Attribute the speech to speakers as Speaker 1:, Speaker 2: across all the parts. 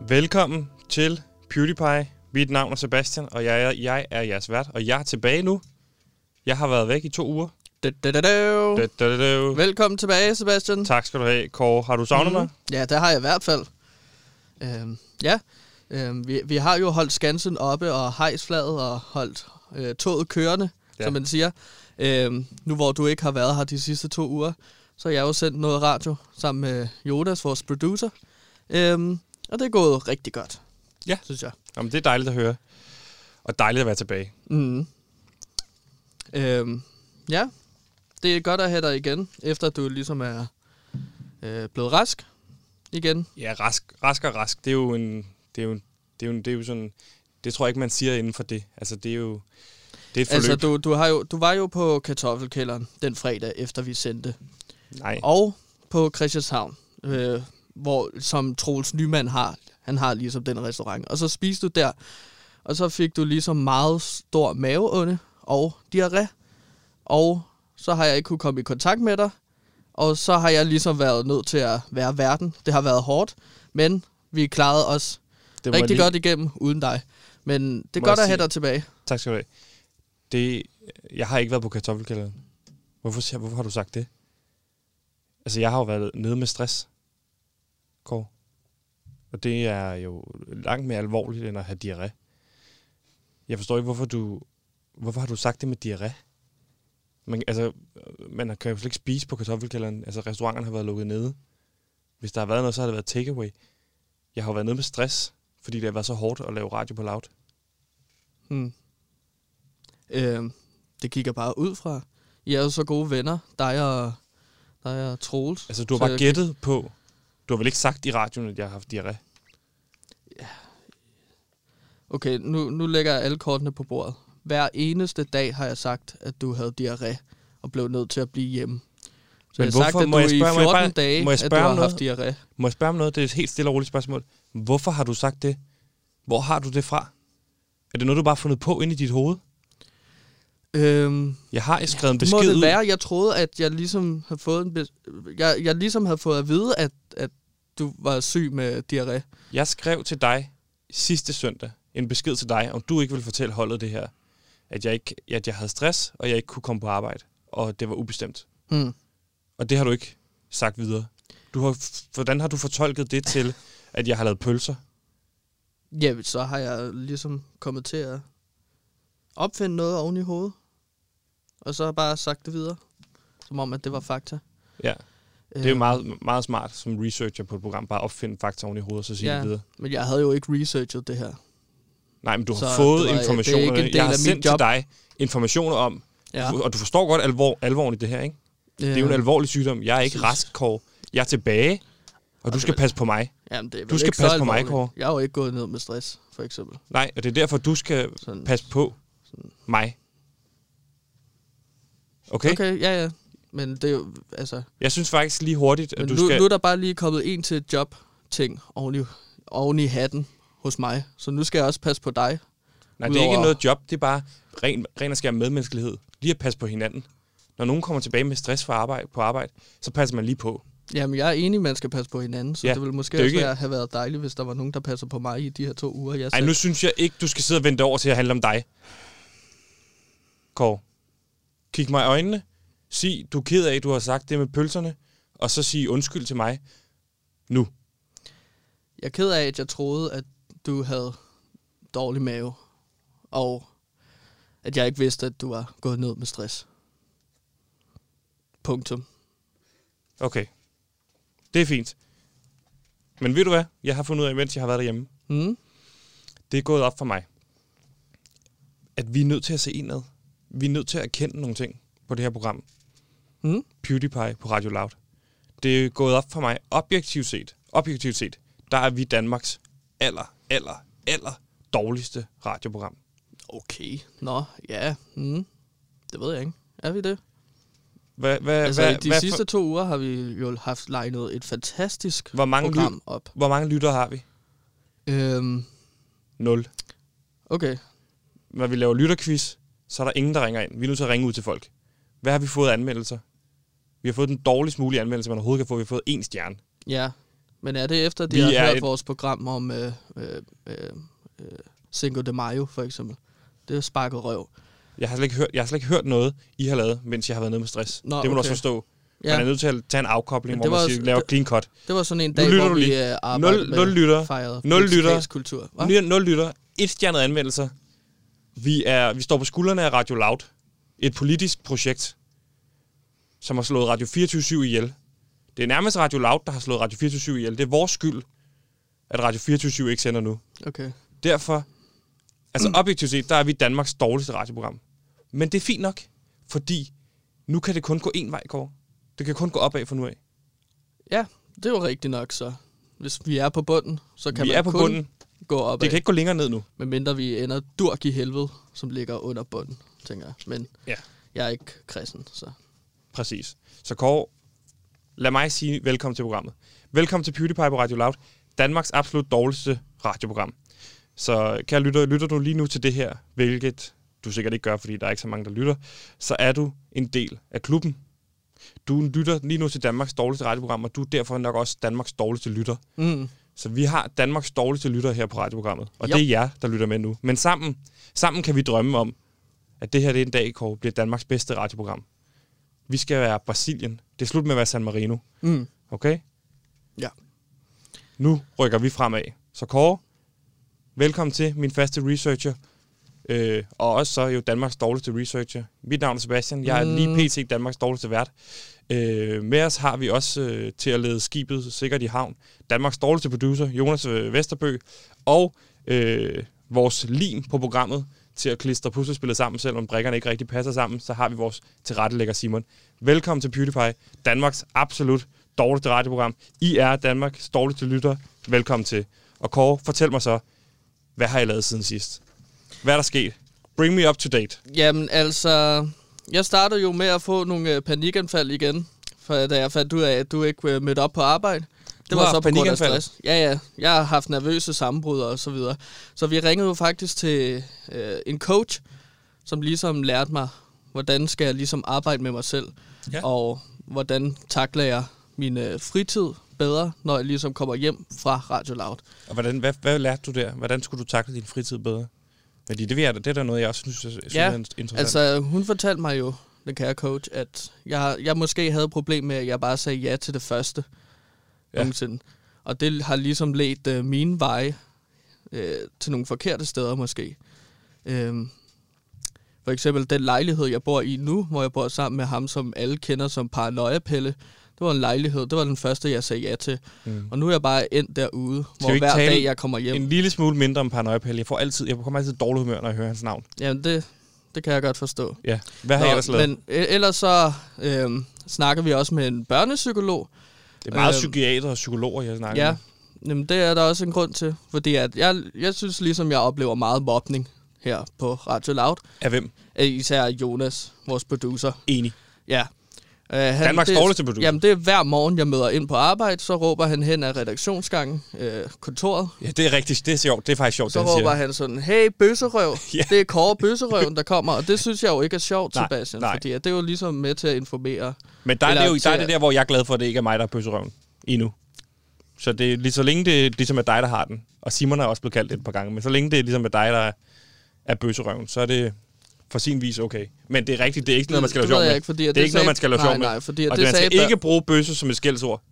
Speaker 1: Velkommen til PewDiePie. Mit navn er Sebastian, og jeg er, jeg er jeres vært. Og jeg er tilbage nu. Jeg har været væk i to uger.
Speaker 2: Da, da, da, da.
Speaker 1: Da, da, da, da.
Speaker 2: Velkommen tilbage, Sebastian.
Speaker 1: Tak skal du have, Kåre. Har du
Speaker 2: Mhm.
Speaker 1: savnet mm. mig?
Speaker 2: Ja, det har jeg i hvert fald. Øhm, ja, øhm, vi, vi har jo holdt skansen oppe og hejsflaget og holdt øh, toget kørende,
Speaker 1: Ja.
Speaker 2: ja. som man siger. Øhm, nu hvor du ikke har været her de sidste to uger, så har jeg jo sendt noget radio sammen med Jonas, vores producer. Øhm, og det er gået rigtig godt.
Speaker 1: Ja.
Speaker 2: Synes jeg.
Speaker 1: Jamen, det er dejligt at høre. Og dejligt at være tilbage.
Speaker 2: Mm. Øhm, ja, det er godt at have dig igen, efter du ligesom er øh, blevet rask igen.
Speaker 1: Ja, rask, rask og rask, det er jo en... Det er jo, en- det er jo, en- det er jo sådan... Det tror jeg ikke, man siger inden for det. Altså, det er jo... Det er et forløb.
Speaker 2: Altså,
Speaker 1: Altså, du...
Speaker 2: du, du, har jo, du var jo på kartoffelkælderen den fredag, efter vi sendte.
Speaker 1: Nej.
Speaker 2: Og på Christianshavn, øh, hvor, som Troels Nyman har. Han har ligesom den restaurant. Og så spiste du der, og så fik du ligesom meget stor maveonde og diarré. Og så har jeg ikke kunne komme i kontakt med dig. Og så har jeg ligesom været nødt til at være verden. Det har været hårdt, men vi klarede os
Speaker 1: Det må jeg
Speaker 2: rigtig lige... godt igennem uden dig. Men det er
Speaker 1: Må
Speaker 2: godt
Speaker 1: jeg
Speaker 2: at have
Speaker 1: sige-
Speaker 2: dig tilbage.
Speaker 1: Tak skal du have. Det, jeg har ikke været på kartoffelkælderen. Hvorfor, siger- hvorfor har du sagt det? Altså, jeg har jo været nede med stress, Kåre. Og det er jo langt mere alvorligt, end at have diarré. Jeg forstår ikke, hvorfor du... Hvorfor har du sagt det med diarré? Man, altså, man kan jo slet ikke spise på kartoffelkælderen. Altså, restauranterne har været lukket nede. Hvis der har været noget, så har det været takeaway. Jeg har jo været nede med stress, fordi det har været så hårdt at lave radio på loud.
Speaker 2: Hmm. Øh, det kigger bare ud fra. I er jo så gode venner, dig og, dig og Troels.
Speaker 1: Altså, du har
Speaker 2: Så
Speaker 1: bare
Speaker 2: jeg-
Speaker 1: gættet på... Du har vel ikke sagt i radioen, at jeg har haft diarré?
Speaker 2: Okay, nu, nu lægger jeg alle kortene på bordet. Hver eneste dag har jeg sagt, at du havde diarré og blev nødt til at blive hjemme. Så
Speaker 1: Men
Speaker 2: jeg
Speaker 1: hvorfor-
Speaker 2: har sagt, at
Speaker 1: må
Speaker 2: du
Speaker 1: jeg
Speaker 2: i
Speaker 1: spørge- må
Speaker 2: 14
Speaker 1: jeg bare-
Speaker 2: dage,
Speaker 1: må jeg
Speaker 2: at du
Speaker 1: spørge
Speaker 2: har
Speaker 1: om
Speaker 2: haft diarré.
Speaker 1: Må jeg spørge om noget? Det er et helt stille og roligt spørgsmål. Hvorfor har du sagt det? Hvor har du det fra? Er det noget, du bare har fundet på ind i dit hoved?
Speaker 2: Øhm,
Speaker 1: Jeg har skrevet en
Speaker 2: det må
Speaker 1: besked
Speaker 2: det
Speaker 1: ud.
Speaker 2: være. Jeg troede, at jeg ligesom havde fået, en bes- jeg, jeg ligesom havde fået at vide, at, at du var syg med diarré.
Speaker 1: Jeg skrev til dig sidste søndag en besked til dig, om du ikke ville fortælle holdet det her. At jeg, ikke, at jeg havde stress, og jeg ikke kunne komme på arbejde. Og det var ubestemt.
Speaker 2: Hmm.
Speaker 1: Og det har du ikke sagt videre. Du har, hvordan har du fortolket det til, at jeg har lavet pølser?
Speaker 2: Ja, så har jeg ligesom kommet til at opfinde noget oven i hovedet. Og så har jeg bare sagt det videre. Som om, at det var fakta. Øh,
Speaker 1: Ja. Det er jo meget, meget smart som researcher på et program, bare at opfinde fakta oven i hovedet, og så sige ja.
Speaker 2: Ja.
Speaker 1: det videre.
Speaker 2: Men jeg havde jo ikke researchet det her.
Speaker 1: Nej, men du har
Speaker 2: Så
Speaker 1: så fået
Speaker 2: det var- det er
Speaker 1: informationer.
Speaker 2: ikke en del
Speaker 1: Jeg har
Speaker 2: af mit
Speaker 1: sendt
Speaker 2: job.
Speaker 1: til dig informationer om,
Speaker 2: Ja. Øh,
Speaker 1: og du forstår godt alvor, alvoren i det her, ikke? Det er jo en alvorlig sygdom. Jeg er ikke
Speaker 2: Præcis.
Speaker 1: rask, Kåre. Jeg er tilbage, og du skal passe på mig.
Speaker 2: Jamen, det er vel
Speaker 1: Du skal
Speaker 2: ikke så
Speaker 1: passe på mig,
Speaker 2: alvorligt.
Speaker 1: Kåre.
Speaker 2: Jeg har jo ikke gået ned med stress, for eksempel.
Speaker 1: Nej, og det er derfor, du skal
Speaker 2: Sådan.
Speaker 1: passe på mig. Okay? okay?
Speaker 2: Okay, ja, ja. Men det er jo, altså...
Speaker 1: Jeg synes faktisk lige hurtigt, at
Speaker 2: Men
Speaker 1: du
Speaker 2: nu,
Speaker 1: skal...
Speaker 2: nu er der bare lige kommet en til job-ting oven i, oven i hatten hos mig. Så nu skal jeg også passe på dig.
Speaker 1: Nej, det er ikke
Speaker 2: Udover-
Speaker 1: noget job, det er bare ren, ren og skær medmenneskelighed. Lige at passe på hinanden. Når nogen kommer tilbage med stress fra arbejde, på arbejde, så passer man lige på.
Speaker 2: Jamen, jeg er enig, man skal passe på hinanden, så
Speaker 1: Ja,
Speaker 2: ja, det ville måske
Speaker 1: det er
Speaker 2: det
Speaker 1: jo
Speaker 2: også
Speaker 1: ikke-
Speaker 2: være, have været dejligt, hvis der var nogen, der passer på mig i de her to uger. Jeg
Speaker 1: Ej,
Speaker 2: selv-
Speaker 1: nu synes jeg ikke, du skal sidde og vente over til at handle om dig. Kåre, kig mig i øjnene. Sig, du er ked af, at du har sagt det med pølserne. Og så sig undskyld til mig. Nu.
Speaker 2: Jeg er ked af, at jeg troede, at du havde dårlig mave, og at jeg ikke vidste, at du var gået ned med stress. Punktum.
Speaker 1: Okay. Det er fint. Men ved du hvad? Jeg har fundet ud af, mens jeg har været derhjemme.
Speaker 2: Mm?
Speaker 1: Det er gået op for mig. At vi er nødt til at se indad. Vi er nødt til at erkende nogle ting på det her program.
Speaker 2: Mm?
Speaker 1: PewDiePie på Radio Loud. Det er gået op for mig objektivt set. Objektivt set, der er vi Danmarks aller, aller, aller dårligste radioprogram.
Speaker 2: Okay. Nå, ja. Mm. Det ved jeg ikke. Er vi det?
Speaker 1: Hvad, hvad,
Speaker 2: Altså,
Speaker 1: hvad,
Speaker 2: i de
Speaker 1: hvad
Speaker 2: sidste to uger har vi jo haft legnet et fantastisk
Speaker 1: Hvor mange lyd-
Speaker 2: program op.
Speaker 1: For, hvor mange lyttere har vi?
Speaker 2: Øhm,
Speaker 1: Nul.
Speaker 2: okay.
Speaker 1: Når vi laver lytterquiz, så er der ingen, der ringer ind. Vi er nødt til at ringe ud til folk. Hvad har vi fået af anmeldelser? Vi har fået den dårligst mulige anmeldelse, man overhovedet kan få. Vi har fået én stjerne.
Speaker 2: Ja, Men er det efter, de
Speaker 1: Vi
Speaker 2: har
Speaker 1: er
Speaker 2: hørt
Speaker 1: et-
Speaker 2: vores program om øh, øh, øh, øh, Cinco de Mayo, for eksempel? Det er sparket røv.
Speaker 1: Jeg har, slet ikke hørt, jeg har slet ikke hørt noget, I har lavet, mens jeg har været nede med stress.
Speaker 2: Nå,
Speaker 1: det må du
Speaker 2: okay.
Speaker 1: også forstå. Ja. Man er
Speaker 2: Ja,
Speaker 1: nødt til at tage en afkobling,
Speaker 2: Men
Speaker 1: hvor
Speaker 2: det
Speaker 1: man
Speaker 2: var
Speaker 1: siger,
Speaker 2: også-
Speaker 1: laver
Speaker 2: det-
Speaker 1: clean cut.
Speaker 2: det var sådan en dag,
Speaker 1: lytter
Speaker 2: hvor
Speaker 1: du
Speaker 2: vi
Speaker 1: lige.
Speaker 2: øh,
Speaker 1: Nul,
Speaker 2: arbejdede
Speaker 1: nul
Speaker 2: med
Speaker 1: lytter,
Speaker 2: fejrede
Speaker 1: Nul lytter.
Speaker 2: mexicansk kultur. Hva?
Speaker 1: nul, nul lytter, et stjernet anmeldelser. Vi, er, vi står på skuldrene af Radio Loud. Et politisk projekt, som har slået Radio 24 ihjel. Det er nærmest Radio Loud, der har slået Radio 24 ihjel. Det er vores skyld, at Radio 24 ikke sender nu.
Speaker 2: Okay.
Speaker 1: Derfor, altså
Speaker 2: Mm.
Speaker 1: objektivt set, der er vi Danmarks dårligste radioprogram. Men det er fint nok, fordi nu kan det kun gå én vej, Kåre. Det kan kun gå opad fra nu af.
Speaker 2: Ja, det var rigtigt nok så. Hvis vi er på bunden, så kan
Speaker 1: vi
Speaker 2: man
Speaker 1: er på
Speaker 2: kun
Speaker 1: bunden.
Speaker 2: gå op
Speaker 1: Det kan ikke gå længere ned nu.
Speaker 2: medmindre vi ender durk i helvede, som ligger under bunden, tænker jeg. Men
Speaker 1: Ja.
Speaker 2: jeg er ikke kristen, så
Speaker 1: Præcis. Så Kåre, lad mig sige velkommen til programmet. Velkommen til PewDiePie på Radio Loud, Danmarks absolut dårligste radioprogram. Så kære lytter, lytter du lige nu til det her, hvilket du sikkert ikke gør, fordi der er ikke så mange, der lytter, så er du en del af klubben. Du lytter lige nu til Danmarks dårligste radioprogram, og du er derfor nok også Danmarks dårligste lytter.
Speaker 2: mm,
Speaker 1: Så vi har Danmarks dårligste lytter her på radioprogrammet, og
Speaker 2: Jo.
Speaker 1: det er jer, der lytter med nu. Men sammen, sammen kan vi drømme om, at det her det er en dag, Kåre, bliver Danmarks bedste radioprogram. Vi skal være Brasilien. Det er slut med at være San Marino,
Speaker 2: mm,
Speaker 1: okay?
Speaker 2: Ja.
Speaker 1: Nu rykker vi fremad. Så Kåre, velkommen til min faste researcher, øh, og også så jo Danmarks dårligste researcher. Mit navn er Sebastian, jeg er
Speaker 2: Mm.
Speaker 1: lige pt. Danmarks dårligste vært. Øh, med os har vi også øh, til at lede skibet sikkert i havn, Danmarks dårligste producer, Jonas øh, Vesterbø, og øh, vores lim på programmet til at klistre puslespillet sammen, selvom brikkerne ikke rigtig passer sammen, så har vi vores tilrettelægger Simon. Velkommen til PewDiePie, Danmarks absolut dårligste radioprogram. I er Danmarks dårligste lytter. Velkommen til. Og Kåre, fortæl mig så, hvad har I lavet siden sidst? Hvad er der sket? Bring me up to date.
Speaker 2: Jamen altså, jeg startede jo med at få nogle øh, panikanfald igen, for da jeg fandt ud af, at du ikke øh, mødte op på arbejde. Det
Speaker 1: Du
Speaker 2: var
Speaker 1: har
Speaker 2: så
Speaker 1: haft
Speaker 2: på grund af
Speaker 1: panikanfald?
Speaker 2: stress. Ja, ja. Jeg har haft nervøse sammenbrud og så videre. Så vi ringede jo faktisk til øh, en coach, som ligesom lærte mig, hvordan skal jeg ligesom arbejde med mig selv,
Speaker 1: Ja.
Speaker 2: og hvordan takler jeg min øh, fritid bedre, når jeg ligesom kommer hjem fra Radio Loud.
Speaker 1: Og hvordan, hvad, hvad lærte du der? Hvordan skulle du takle din fritid bedre? Fordi det, ved jeg, det er da noget, jeg også synes, synes
Speaker 2: Ja,
Speaker 1: er interessant.
Speaker 2: Altså, hun fortalte mig jo, den kære coach, at jeg, jeg måske havde et problem med, at jeg bare sagde ja til det første
Speaker 1: Ja.
Speaker 2: ja. nogensinde. Og det har ligesom let øh, mine veje øh, til nogle forkerte steder måske. Øhm, for eksempel den lejlighed, jeg bor i nu, hvor jeg bor sammen med ham, som alle kender som Paranoia-Pelle. Det var en lejlighed, det var den første, jeg sagde ja til.
Speaker 1: Mm.
Speaker 2: Mm. Og nu er jeg bare endt derude, hvor
Speaker 1: vi ikke
Speaker 2: hver
Speaker 1: tale
Speaker 2: dag jeg kommer hjem.
Speaker 1: En lille smule mindre om paranoiapæl. Jeg, får altid, jeg kommer altid i dårlig humør, når jeg hører hans navn.
Speaker 2: Jamen, det, det kan jeg godt forstå.
Speaker 1: Ja. Hvad har jeg ellers lavet?
Speaker 2: men øh, ellers så øh, snakker vi også med en børnepsykolog.
Speaker 1: Det er meget
Speaker 2: øhm,
Speaker 1: psykiater og psykologer, jeg snakker
Speaker 2: Ja,
Speaker 1: med.
Speaker 2: jamen, det er der også en grund til, fordi at jeg, jeg synes ligesom, jeg oplever meget mobning her på Radio Loud.
Speaker 1: Af hvem?
Speaker 2: Øh, Især Jonas, vores producer.
Speaker 1: Enig.
Speaker 2: Ja. Øh, han,
Speaker 1: Danmarks dårligste producer.
Speaker 2: Jamen, det er hver morgen, jeg møder ind på arbejde, så råber han hen af redaktionsgangen, øh, kontoret,
Speaker 1: Ja, det er rigtigt. Det er sjovt. Det er faktisk sjovt,
Speaker 2: Så
Speaker 1: det han siger.
Speaker 2: råber han sådan, hey bøsserøv,
Speaker 1: Ja.
Speaker 2: ja. det er Kåre Bøsserøven, der kommer, og det synes jeg jo ikke er sjovt,
Speaker 1: Nej,
Speaker 2: Sebastian,
Speaker 1: nej.
Speaker 2: fordi at det er jo ligesom med til at informere.
Speaker 1: Men der er,
Speaker 2: Eller
Speaker 1: det jo, der er
Speaker 2: til-
Speaker 1: det der, hvor jeg er glad for, at det ikke er mig, der er pøsserøven endnu. Så det er lige så længe det ligesom er dig, der har den, og Simon er også blevet kaldt det et par gange, men så længe det ligesom er dig, der er, er bøsserøven, så er det for sin vis okay. Men det er rigtigt, det er ikke noget, man skal lave
Speaker 2: Det
Speaker 1: sjov
Speaker 2: ved jeg
Speaker 1: med.
Speaker 2: ikke, fordi at
Speaker 1: det er
Speaker 2: det
Speaker 1: ikke noget,
Speaker 2: sagde-
Speaker 1: man skal lave
Speaker 2: Nej,
Speaker 1: sjov med.
Speaker 2: nej, fordi at
Speaker 1: og
Speaker 2: det
Speaker 1: man skal
Speaker 2: sagde-
Speaker 1: ikke bruge bøsse som et skældsord.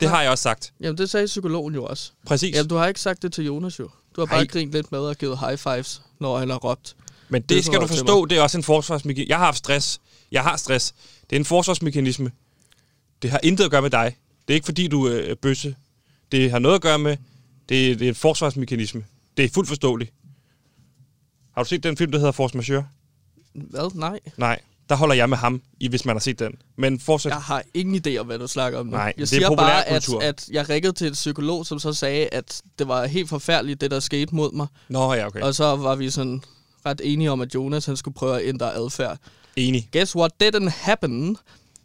Speaker 1: Det har jeg også sagt.
Speaker 2: Jamen, det sagde psykologen jo også.
Speaker 1: Præcis.
Speaker 2: Jamen, du har ikke sagt det til Jonas jo. Du har bare
Speaker 1: Nej.
Speaker 2: grint lidt med og givet high fives, når han har råbt.
Speaker 1: Men det,
Speaker 2: Det
Speaker 1: det skal
Speaker 2: tror
Speaker 1: du
Speaker 2: jeg til
Speaker 1: forstå, det er også en forsvarsmekanisme. Jeg har haft stress. Jeg har stress. Det er en forsvarsmekanisme. Det har intet at gøre med dig. Det er ikke fordi, du er øh, bøsse. Det har noget at gøre med, det er, det er en forsvarsmekanisme. Det er fuldt forståeligt. Har du set den film, der hedder Force Majeure?
Speaker 2: Hvad? Nej.
Speaker 1: Nej. Der holder jeg med ham, i, hvis man har set den. Men fortsat...
Speaker 2: Jeg har ingen idé om, hvad du snakker om nu.
Speaker 1: Nej, det er
Speaker 2: jeg siger bare, at,
Speaker 1: populærkultur.
Speaker 2: at jeg ringede til en psykolog, som så sagde, at det var helt forfærdeligt, det der skete mod mig.
Speaker 1: Nå ja, okay.
Speaker 2: Og så var vi sådan ret enige om, at Jonas han skulle prøve at ændre adfærd.
Speaker 1: Enig.
Speaker 2: Guess what didn't happen?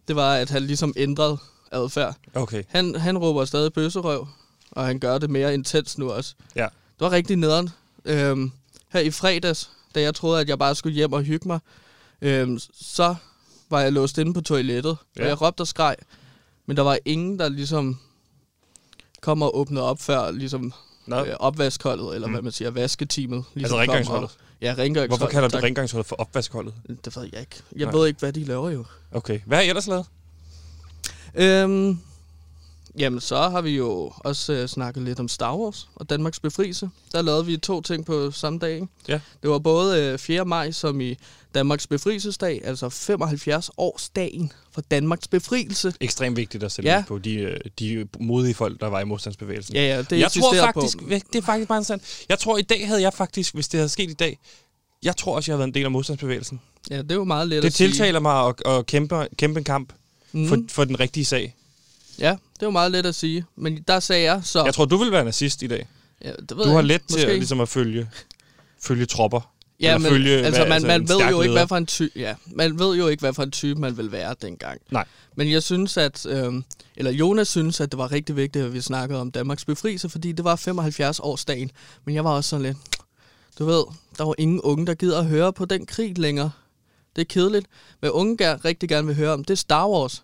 Speaker 2: Det var, at han ligesom ændrede adfærd.
Speaker 1: Okay.
Speaker 2: Han, han råber stadig bøsserøv, og han gør det mere intens nu også.
Speaker 1: Ja.
Speaker 2: Det var rigtig nederen. Øhm, her i fredags, da jeg troede, at jeg bare skulle hjem og hygge mig, øhm, så var jeg låst inde på toilettet, ja.
Speaker 1: Ja.
Speaker 2: og jeg råbte og skreg. Men der var ingen, der ligesom kom og åbnede op før ligesom,
Speaker 1: Nå,
Speaker 2: øh, opvaskholdet, eller
Speaker 1: Mm.
Speaker 2: hvad man siger, vasketimet. Ligesom
Speaker 1: altså
Speaker 2: kom og-
Speaker 1: rengøringsholdet.
Speaker 2: Ja, rengøringsholdet.
Speaker 1: Hvorfor kalder du
Speaker 2: tak.
Speaker 1: rengøringsholdet for opvaskholdet?
Speaker 2: Det ved jeg ikke. Jeg
Speaker 1: Nej.
Speaker 2: Nej. ved ikke, hvad de laver jo.
Speaker 1: Okay. Hvad har I ellers lavet?
Speaker 2: Øhm, jamen, så har vi jo også øh, snakket lidt om Star Wars og Danmarks befrielse. Der lavede vi to ting på samme dag. ikke?
Speaker 1: Ja.
Speaker 2: Det var både øh, 4. maj, som i Danmarks befrielsesdag, altså 75-årsdagen for Danmarks befrielse.
Speaker 1: Ekstremt vigtigt at sætte
Speaker 2: Ja.
Speaker 1: ja. på de, øh, de modige folk, der var i modstandsbevægelsen.
Speaker 2: Ja, ja, det
Speaker 1: jeg tror
Speaker 2: insisterer
Speaker 1: faktisk,
Speaker 2: på.
Speaker 1: det er faktisk meget interessant. Jeg tror, i dag havde jeg faktisk, hvis det havde sket i dag, jeg tror også, jeg havde været en del af modstandsbevægelsen.
Speaker 2: Ja, det er jo meget let
Speaker 1: Det
Speaker 2: at sige.
Speaker 1: tiltaler mig at, at kæmpe, kæmpe en kamp
Speaker 2: Mm,
Speaker 1: for, for den rigtige sag.
Speaker 2: Ja, det er jo meget let at sige. Men der sagde jeg så...
Speaker 1: Jeg tror, du vil være nazist i dag.
Speaker 2: ja, det ved
Speaker 1: Du
Speaker 2: jeg
Speaker 1: har
Speaker 2: ikke,
Speaker 1: let til
Speaker 2: måske.
Speaker 1: at, ligesom at følge, følge tropper.
Speaker 2: Ja,
Speaker 1: eller
Speaker 2: men,
Speaker 1: følge,
Speaker 2: altså,
Speaker 1: hvad-
Speaker 2: man,
Speaker 1: altså,
Speaker 2: man
Speaker 1: en
Speaker 2: ved
Speaker 1: stærk
Speaker 2: jo ikke,
Speaker 1: leder.
Speaker 2: hvad for en type, ja, man ved jo ikke, hvad for en type man vil være dengang.
Speaker 1: Nej.
Speaker 2: Men jeg synes, at, øh, eller Jonas synes, at det var rigtig vigtigt, at vi snakkede om Danmarks befrielse, fordi det var 75-årsdagen. Men jeg var også sådan lidt, du ved, der var ingen unge, der gider at høre på den krig længere. Det er kedeligt. Hvad unge ger- rigtig gerne vil høre om, det er Star Wars.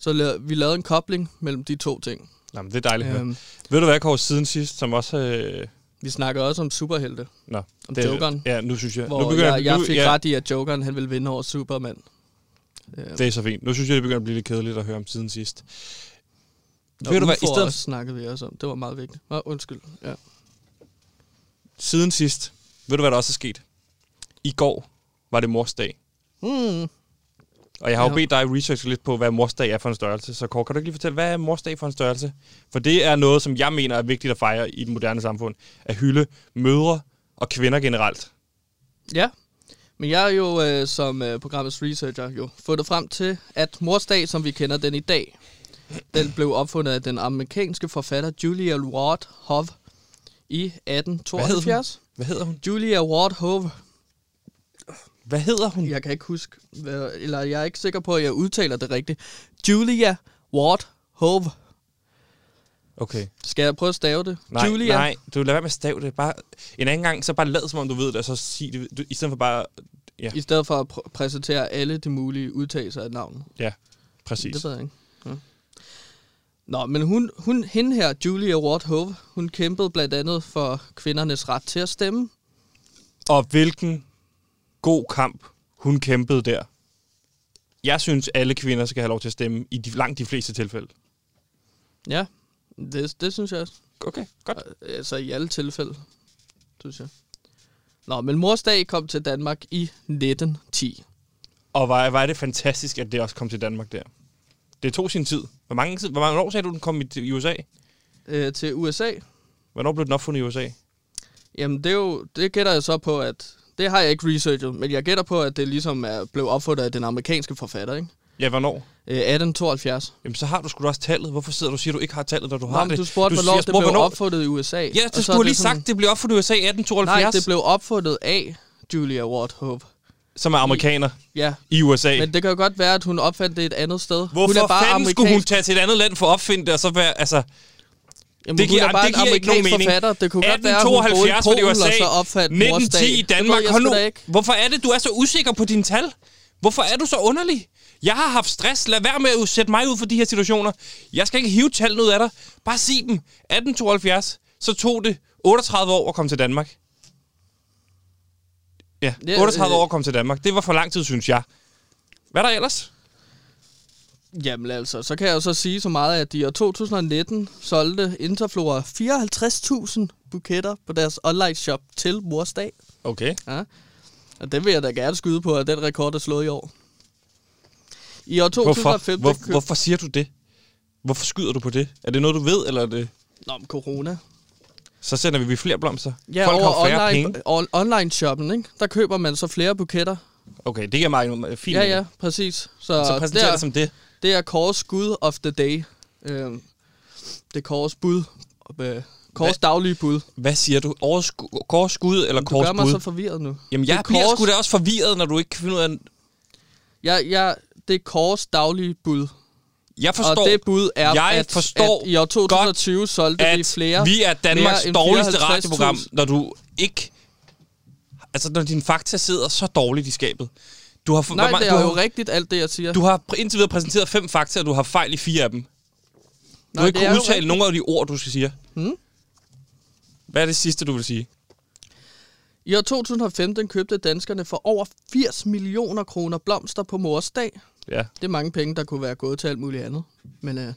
Speaker 2: Så la- vi lavede en kobling mellem de to ting.
Speaker 1: Nå, men det er dejligt. Øhm.
Speaker 2: Øhm,
Speaker 1: Ved du hvad, Kåre, siden sidst, som også... Øh,
Speaker 2: vi snakker også om superhelte,
Speaker 1: nå,
Speaker 2: om det, Jokeren.
Speaker 1: Ja, nu synes jeg...
Speaker 2: Hvor
Speaker 1: nu
Speaker 2: jeg, jeg
Speaker 1: nu,
Speaker 2: fik
Speaker 1: ja,
Speaker 2: ret i, at Jokeren han ville vinde over Superman. Øh,
Speaker 1: Det er så fint. Nu synes jeg, det begynder at blive lidt kedeligt at høre om siden sidst.
Speaker 2: Og
Speaker 1: Ved du hvad, i
Speaker 2: UFO'er
Speaker 1: stedet,
Speaker 2: også snakkede vi også om. Det var meget vigtigt. Nå, undskyld. Ja.
Speaker 1: siden sidst, ved du hvad der også er sket? I går var det mors dag. Hmm.
Speaker 2: Mm.
Speaker 1: Og jeg har jo
Speaker 2: Ja.
Speaker 1: bedt dig researche lidt på, hvad morsdag er for en størrelse. Så Kåre, kan du ikke lige fortælle, hvad er morsdag for en størrelse? For det er noget, som jeg mener er vigtigt at fejre i det moderne samfund. At hylde mødre og kvinder generelt.
Speaker 2: ja. Men jeg er jo øh, som øh, programmets researcher jo fundet frem til, at morsdag, som vi kender den i dag, den blev opfundet af den amerikanske forfatter Julia Ward Howe i
Speaker 1: Hvad hed
Speaker 2: 1872.
Speaker 1: Hvad hedder hun?
Speaker 2: Julia Ward Howe.
Speaker 1: Hvad hedder hun?
Speaker 2: Jeg kan ikke huske, hvad, eller jeg er ikke sikker på, at jeg udtaler det rigtigt. Julia Ward Howe.
Speaker 1: Okay.
Speaker 2: Skal jeg prøve at stave det?
Speaker 1: Nej,
Speaker 2: Julia.
Speaker 1: nej, du lader være med at stave det. Bare, en anden gang, så bare lad som om du ved det, og så sig det. Du, I stedet for bare... Ja,
Speaker 2: I stedet for at pr- præsentere alle de mulige udtalelser af navnet.
Speaker 1: ja præcis.
Speaker 2: Det ved jeg ikke. Ja. Nå, men hun, hun, hende her, Julia Ward Howe, hun kæmpede blandt andet for kvindernes ret til at stemme.
Speaker 1: Og hvilken god kamp hun kæmpede der. Jeg synes, alle kvinder skal have lov til at stemme i de, langt de fleste tilfælde.
Speaker 2: Ja, det, det synes jeg også.
Speaker 1: Okay, godt.
Speaker 2: Altså i alle tilfælde, synes jeg. Nå, men morsdag kom til Danmark i 1910.
Speaker 1: Og var, var det fantastisk, at det også kom til Danmark der. Det tog sin tid. Hvor mange, tid- hvor mange år sagde du, den kom i, i USA?
Speaker 2: Øh, til USA,
Speaker 1: Hvornår blev den opfundet i USA?
Speaker 2: jamen det, er jo, det gætter jeg så på, at... Det har jeg ikke researchet, men jeg gætter på, at det ligesom er blevet opfundet af den amerikanske forfatter, ikke?
Speaker 1: Ja, hvornår?
Speaker 2: Øh, 1872.
Speaker 1: Jamen, så har du sgu da også tallet. Hvorfor sidder du og siger, du ikke har tallet, når du
Speaker 2: Nå,
Speaker 1: har
Speaker 2: men
Speaker 1: det?
Speaker 2: du spurgte, hvornår
Speaker 1: jeg
Speaker 2: det blev
Speaker 1: spurgte, hvornår-
Speaker 2: opfundet i USA.
Speaker 1: Ja,
Speaker 2: og
Speaker 1: det
Speaker 2: så
Speaker 1: skulle
Speaker 2: er
Speaker 1: du lige
Speaker 2: sådan-
Speaker 1: sagt, det blev opfundet i USA i 1872,
Speaker 2: Nej, det blev opfundet af Julia Ward Hope.
Speaker 1: som er amerikaner
Speaker 2: Ja,
Speaker 1: i USA.
Speaker 2: men det kan jo godt være, at hun opfandt det et andet sted.
Speaker 1: Hvorfor
Speaker 2: hun er bare
Speaker 1: fanden
Speaker 2: amerikansk,
Speaker 1: skulle hun tage til et andet land for at opfinde det, og så være, altså,
Speaker 2: Jamen,
Speaker 1: Det giver-
Speaker 2: hun er bare
Speaker 1: det giver
Speaker 2: en
Speaker 1: ikke nogen
Speaker 2: amerikansk
Speaker 1: mening.
Speaker 2: forfatter. Det kunne godt være, at hun boede i
Speaker 1: 1872 var det
Speaker 2: Polen,
Speaker 1: USA,
Speaker 2: og så opfandt
Speaker 1: 1910 i
Speaker 2: morsdag.
Speaker 1: Danmark.
Speaker 2: Det ved jeg
Speaker 1: Hold
Speaker 2: sgu
Speaker 1: nu,
Speaker 2: da ikke.
Speaker 1: hvorfor er det, du er så usikker på dine tal? Hvorfor er du så underlig? Jeg har haft stress. Lad være med at sætte mig ud for de her situationer. Jeg skal ikke hive tallene ud af dig. Bare sig dem. 1872, så tog det 38 år at komme til Danmark. Ja,
Speaker 2: Ja,
Speaker 1: 38
Speaker 2: øh.
Speaker 1: år at komme til Danmark. Det var for lang tid, synes jeg. Hvad er der ellers?
Speaker 2: Jamen altså, så kan jeg jo så sige så meget, at de i år 2019 solgte Interflora 54.000 buketter på deres online shop til morsdag.
Speaker 1: Okay.
Speaker 2: Ja. Og det vil jeg da gerne skyde på, at den rekord er slået i år. I år
Speaker 1: Hvorfor?
Speaker 2: 2015...
Speaker 1: Hvor,
Speaker 2: købte-
Speaker 1: hvorfor siger du det? Hvorfor skyder du på det? Er det noget, du ved, eller er det...
Speaker 2: Nå, men corona.
Speaker 1: Så sender vi flere blomster.
Speaker 2: Ja,
Speaker 1: Folk
Speaker 2: over
Speaker 1: har færre
Speaker 2: online,
Speaker 1: penge.
Speaker 2: on- online-shoppen, ikke? der køber man så flere buketter.
Speaker 1: Okay, det giver mig en fin
Speaker 2: Ja,
Speaker 1: idé.
Speaker 2: ja, præcis. Så,
Speaker 1: Så
Speaker 2: det,
Speaker 1: præsenter
Speaker 2: er,
Speaker 1: det ligesom- som det.
Speaker 2: det er Kåres skud of the day. Øhm, det er Kåres bud. Øh, Kåres daglige bud.
Speaker 1: Hvad siger du? Oversku- Korskud eller
Speaker 2: Du gør mig så
Speaker 1: korsbud?
Speaker 2: forvirret nu.
Speaker 1: Jamen,
Speaker 2: Det
Speaker 1: jeg
Speaker 2: er
Speaker 1: bliver
Speaker 2: kors-
Speaker 1: sgu da også forvirret, når du ikke kan finde ud af...
Speaker 2: Jeg, jeg, det er Kåres daglige bud.
Speaker 1: Jeg
Speaker 2: Forstår. Og
Speaker 1: forstår,
Speaker 2: det bud er,
Speaker 1: Jeg
Speaker 2: at,
Speaker 1: forstår
Speaker 2: at i år 2020 godt, solgte vi
Speaker 1: at
Speaker 2: flere.
Speaker 1: vi er Danmarks
Speaker 2: mere end
Speaker 1: dårligste
Speaker 2: 54.000.
Speaker 1: radioprogram, når du ikke... Altså, når dine fakta sidder så dårligt i skabet. Du har, for-
Speaker 2: Nej,
Speaker 1: hvor mange-
Speaker 2: det
Speaker 1: du
Speaker 2: er
Speaker 1: har,
Speaker 2: jo rigtigt alt det, jeg siger.
Speaker 1: du har pr- indtil videre præsenteret fem fakta, og du har fejl i fire af dem. Du har ikke
Speaker 2: det er
Speaker 1: kunnet
Speaker 2: jo
Speaker 1: udtale
Speaker 2: rigtigt.
Speaker 1: nogen af de ord, du skal sige.
Speaker 2: Hmm?
Speaker 1: Hvad er det sidste, du vil sige?
Speaker 2: I år 2015 købte danskerne for over 80 millioner kroner blomster på mors dag.
Speaker 1: Ja.
Speaker 2: Det er mange penge, der kunne være gået til alt muligt andet. Men øh, i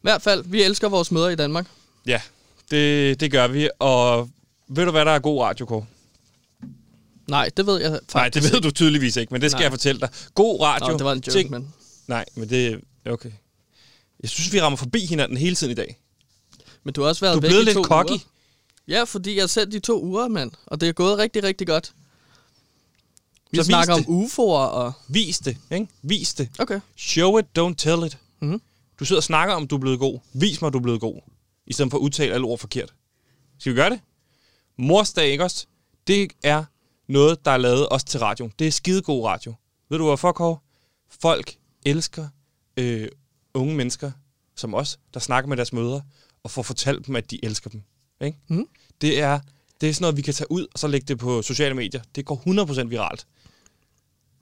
Speaker 2: hvert fald, vi elsker vores møder i Danmark.
Speaker 1: Ja, det, det gør vi. Og ved du, hvad der er god radio, Kåre?
Speaker 2: Nej, det ved jeg faktisk
Speaker 1: Nej, det ved du tydeligvis ikke, men det skal
Speaker 2: Nej.
Speaker 1: Nej. jeg fortælle dig. God radio.
Speaker 2: Nå, det var en joke,
Speaker 1: ting-
Speaker 2: men...
Speaker 1: Nej, men det... Okay. Jeg synes, vi rammer forbi hinanden hele tiden i dag.
Speaker 2: Men du har også været
Speaker 1: Du er
Speaker 2: væk
Speaker 1: blevet
Speaker 2: i to
Speaker 1: lidt cocky.
Speaker 2: Uger. Ja, fordi jeg har sendt de to uger, mand. Og det er gået rigtig, rigtig godt. Vi
Speaker 1: Så vis
Speaker 2: så snakker om
Speaker 1: det.
Speaker 2: UFO'er og...
Speaker 1: Vis det, ikke? Vis det.
Speaker 2: Okay.
Speaker 1: Show it, don't tell it.
Speaker 2: Mhm.
Speaker 1: Du sidder og snakker om, du er blevet god. Vis mig, du er blevet god. I stedet for at udtale alle ord forkert. Skal vi gøre det? Morsdag, ikke også? Det er noget, der er lavet også til radio. Det er skidegod radio. Ved du hvorfor, Kåre? Folk elsker øh, unge mennesker som os, der snakker med deres mødre, og får fortalt dem, at de elsker dem. Ikke?
Speaker 2: Mhm.
Speaker 1: Det, er, det er sådan noget, vi kan tage ud, og så lægge det på sociale medier. Det går 100% viralt.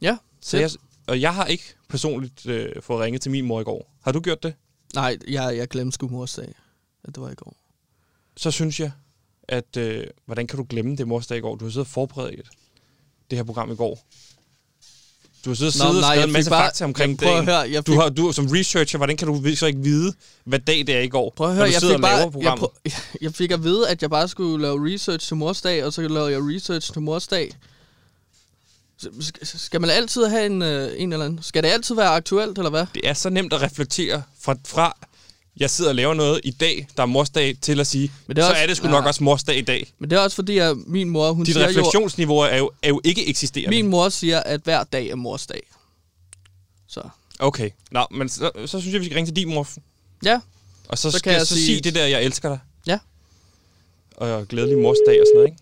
Speaker 2: Ja.
Speaker 1: Så jeg, og jeg har ikke personligt øh, fået ringet til min mor i går. Har du gjort det?
Speaker 2: Nej, jeg, jeg glemte sgu morsdag. Ja, det var i går.
Speaker 1: Så synes jeg, at øh, hvordan kan du glemme det morsdag i går? Du har siddet og forberedt det her program i går. Du har siddet og
Speaker 2: Nå,
Speaker 1: siddet og
Speaker 2: nej,
Speaker 1: skrevet
Speaker 2: jeg
Speaker 1: en
Speaker 2: fik
Speaker 1: masse
Speaker 2: bare-
Speaker 1: fakta omkring
Speaker 2: Prøv at
Speaker 1: dagen.
Speaker 2: høre, jeg
Speaker 1: Du
Speaker 2: fik-
Speaker 1: har, du, som researcher, hvordan kan du vi- så ikke vide, hvad dag det er i går,
Speaker 2: Prøv at
Speaker 1: når
Speaker 2: høre,
Speaker 1: du
Speaker 2: jeg
Speaker 1: sidder
Speaker 2: fik,
Speaker 1: og laver
Speaker 2: bare, jeg,
Speaker 1: programmet?
Speaker 2: prøv, jeg fik at vide, at jeg bare skulle lave research til morsdag, og så lavede jeg research til morsdag. Så- sk- Skal man altid have en, øh, en eller anden? Skal det altid være aktuelt, eller hvad?
Speaker 1: Det er så nemt at reflektere fra, fra jeg sidder og laver noget i dag, der er morsdag, til at sige,
Speaker 2: Men
Speaker 1: Men
Speaker 2: det er
Speaker 1: så
Speaker 2: også-
Speaker 1: er det sgu
Speaker 2: nej,
Speaker 1: nok
Speaker 2: nej.
Speaker 1: også morsdag i dag.
Speaker 2: Men det er også fordi, at min mor, hun
Speaker 1: Dit
Speaker 2: siger jo...
Speaker 1: refleksionsniveau er jo, er jo ikke eksisterende.
Speaker 2: Min mor siger, at hver dag er mors dag. Så
Speaker 1: Okay, Nå, men så, så synes jeg, vi skal ringe til din mor,
Speaker 2: ja,
Speaker 1: og så,
Speaker 2: Så
Speaker 1: så
Speaker 2: kan
Speaker 1: skal
Speaker 2: jeg
Speaker 1: jeg så
Speaker 2: sige-
Speaker 1: sige... det der, jeg elsker dig,
Speaker 2: ja.
Speaker 1: og glædelig morsdag og sådan noget, ikke?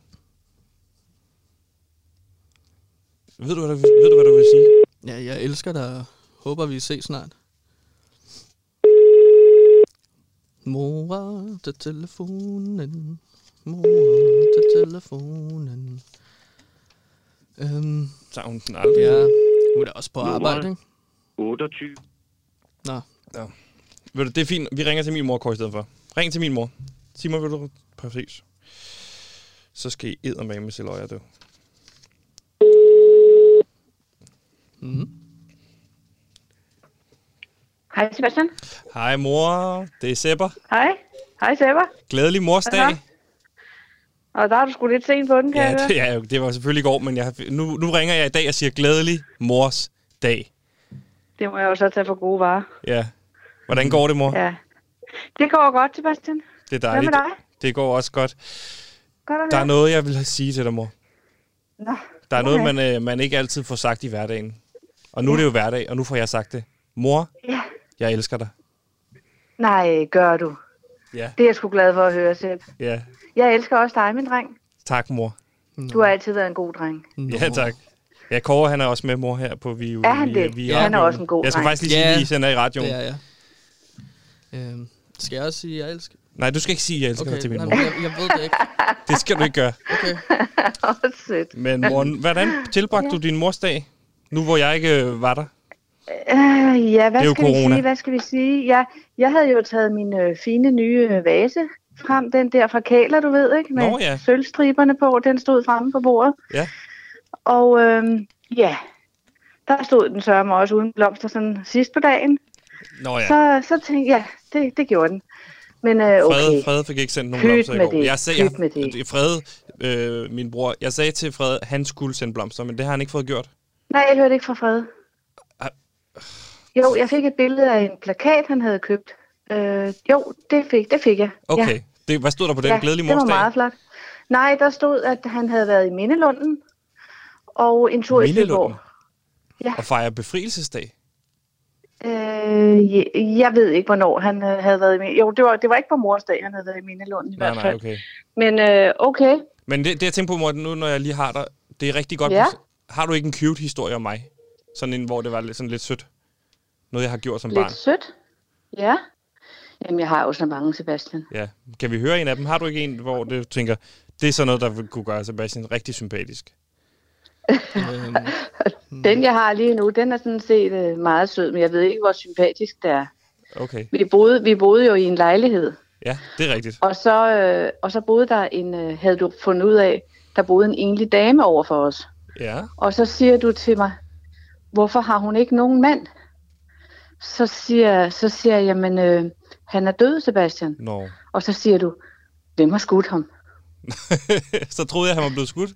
Speaker 1: Ved du, hvad du, ved du, hvad du vil sige?
Speaker 2: Ja, jeg elsker dig. og Håber, vi ses snart. Mora til telefonen. Mora til telefonen. Øhm,
Speaker 1: Så hun den aldrig.
Speaker 2: ja. Hun er også på arbejde, ikke?
Speaker 3: 28.
Speaker 2: Nå.
Speaker 1: Ved du, det er fint. Vi ringer til min mor, Kåre, i stedet for. Ring til min mor. Sig mig, vil du... Præcis. Så skal I eddermame se løjer, du.
Speaker 2: Mm.
Speaker 4: Hej Sebastian.
Speaker 1: Hej, mor. Det er Sepper.
Speaker 4: Hej. Hej Seba.
Speaker 1: Glædelig morsdag.
Speaker 4: Aha. Og der er du sgu lidt sent på den, kan
Speaker 1: Ja,
Speaker 4: jeg høre.
Speaker 1: det, er jo, det var selvfølgelig i går, men jeg, nu, nu ringer jeg i dag og siger glædelig mors dag.
Speaker 4: Det må jeg jo så tage for gode varer.
Speaker 1: Ja. Hvordan går det, mor?
Speaker 4: Ja. Det går godt, Sebastian.
Speaker 1: Det er
Speaker 4: Hvad med
Speaker 1: dejligt.
Speaker 4: dig?
Speaker 1: Det går også godt.
Speaker 4: Godt at
Speaker 1: Der er
Speaker 4: høre.
Speaker 1: noget, jeg vil sige til dig, mor.
Speaker 4: Nå,
Speaker 1: Der er okay.
Speaker 4: okay.
Speaker 1: noget, man, øh, man ikke altid får sagt i hverdagen. Og nu ja. er det jo hverdag, og nu får jeg sagt det. Mor,
Speaker 4: Ja.
Speaker 1: jeg elsker dig.
Speaker 4: Nej, gør du.
Speaker 1: Ja,
Speaker 4: Det er jeg sgu glad for at høre, Seb.
Speaker 1: ja.
Speaker 4: Jeg elsker også dig, min dreng.
Speaker 1: Tak, mor.
Speaker 4: Du har altid været en god dreng.
Speaker 2: Nå.
Speaker 1: Ja, tak. Ja, Kåre, han er også med, mor, her på Vi.
Speaker 4: Er han
Speaker 1: vi,
Speaker 4: det?
Speaker 1: Vi,
Speaker 4: Ja, han er
Speaker 1: radioen.
Speaker 4: også en god
Speaker 1: Jeg skal
Speaker 4: dreng.
Speaker 1: faktisk lige sige,
Speaker 2: Ja.
Speaker 1: at vi sender i radioen.
Speaker 2: Det er jeg. Øhm, skal jeg også sige, at jeg elsker?
Speaker 1: Nej, du skal ikke sige, at jeg elsker okay. dig til min
Speaker 2: nej,
Speaker 1: mor.
Speaker 2: men jeg, jeg ved det ikke.
Speaker 1: Det skal du ikke gøre.
Speaker 4: Åh, sødt.
Speaker 1: Men mor, hvordan tilbragte du din mors dag, nu hvor jeg ikke øh, var der?
Speaker 4: Øh, ja, hvad
Speaker 1: Det er jo
Speaker 4: skal vi
Speaker 1: corona.
Speaker 4: sige? Hvad skal vi sige? Jeg, jeg havde jo taget min øh, fine nye øh, vase frem, den der fra Kæler, du ved, ikke? Med
Speaker 1: Nå, ja.
Speaker 4: sølvstriberne på, den stod fremme på bordet.
Speaker 1: Ja.
Speaker 4: Og øh, ja, der stod den sørme også uden blomster sådan sidst på dagen.
Speaker 1: Nå ja,
Speaker 4: Så, så tænkte jeg, ja, det, det gjorde den. Men øh,
Speaker 1: Frede,
Speaker 4: okay,
Speaker 1: Frede fik ikke sendt nogen
Speaker 4: Pyt
Speaker 1: blomster i
Speaker 4: med
Speaker 1: går.
Speaker 4: det.
Speaker 1: Jeg sagde,
Speaker 4: Pyt med det.
Speaker 1: Frede, øh, min bror, jeg sagde til Frede, han skulle sende blomster, men det har han ikke fået gjort.
Speaker 4: nej, jeg hørte ikke fra Fred.
Speaker 1: Ej.
Speaker 4: Jo, jeg fik et billede af en plakat, han havde købt. Øh, jo, det fik, det fik jeg.
Speaker 1: Okay.
Speaker 4: Ja.
Speaker 1: Ja. Det, hvad stod der på den? Ja, Glædelig
Speaker 4: det var
Speaker 1: morsdag?
Speaker 4: meget flot. Nej, der stod, at han havde været i Mindelunden og en tur i Silborg.
Speaker 1: Mindelunden.
Speaker 4: Ja.
Speaker 1: Og fejre befrielsesdag.
Speaker 4: Øh, je- jeg ved ikke, hvornår han øh, havde været i Mindelunden. Jo, det var, det var ikke på morsdag, han havde været i Mindelunden i
Speaker 1: Nej,
Speaker 4: hvert fald.
Speaker 1: nej, okay.
Speaker 4: Men øh, okay,
Speaker 1: Men det, det, jeg tænker på, Morten, nu når jeg lige har dig, det er rigtig godt.
Speaker 4: Ja.
Speaker 1: hvis- Har du ikke en cute historie om mig? Sådan en, hvor det var lidt, sådan lidt sødt. Noget, jeg har gjort som barn.
Speaker 4: lidt sødt. Ja. Jamen, jeg har jo så mange, Sebastian.
Speaker 1: Ja. Kan vi høre en af dem? Har du ikke en, hvor det, du tænker, det er sådan noget, der vil kunne gøre Sebastian rigtig sympatisk?
Speaker 2: Øhm,
Speaker 1: Mm.
Speaker 4: Den, jeg har lige nu, den er sådan set øh, meget sød, men jeg ved ikke, hvor sympatisk det er.
Speaker 1: Okay.
Speaker 4: Vi boede, vi boede jo i en lejlighed,
Speaker 1: Ja, det er rigtigt.
Speaker 4: og så, øh, og så boede der en, øh, havde du fundet ud af, der boede en enlig dame over for os.
Speaker 1: Ja.
Speaker 4: Og så siger du til mig, hvorfor har hun ikke nogen mand? Så siger, så siger jeg, jamen øh, han er død, Sebastian.
Speaker 1: Nå. No.
Speaker 4: Og så siger du, hvem har skudt ham?
Speaker 1: så troede jeg, han var blevet skudt.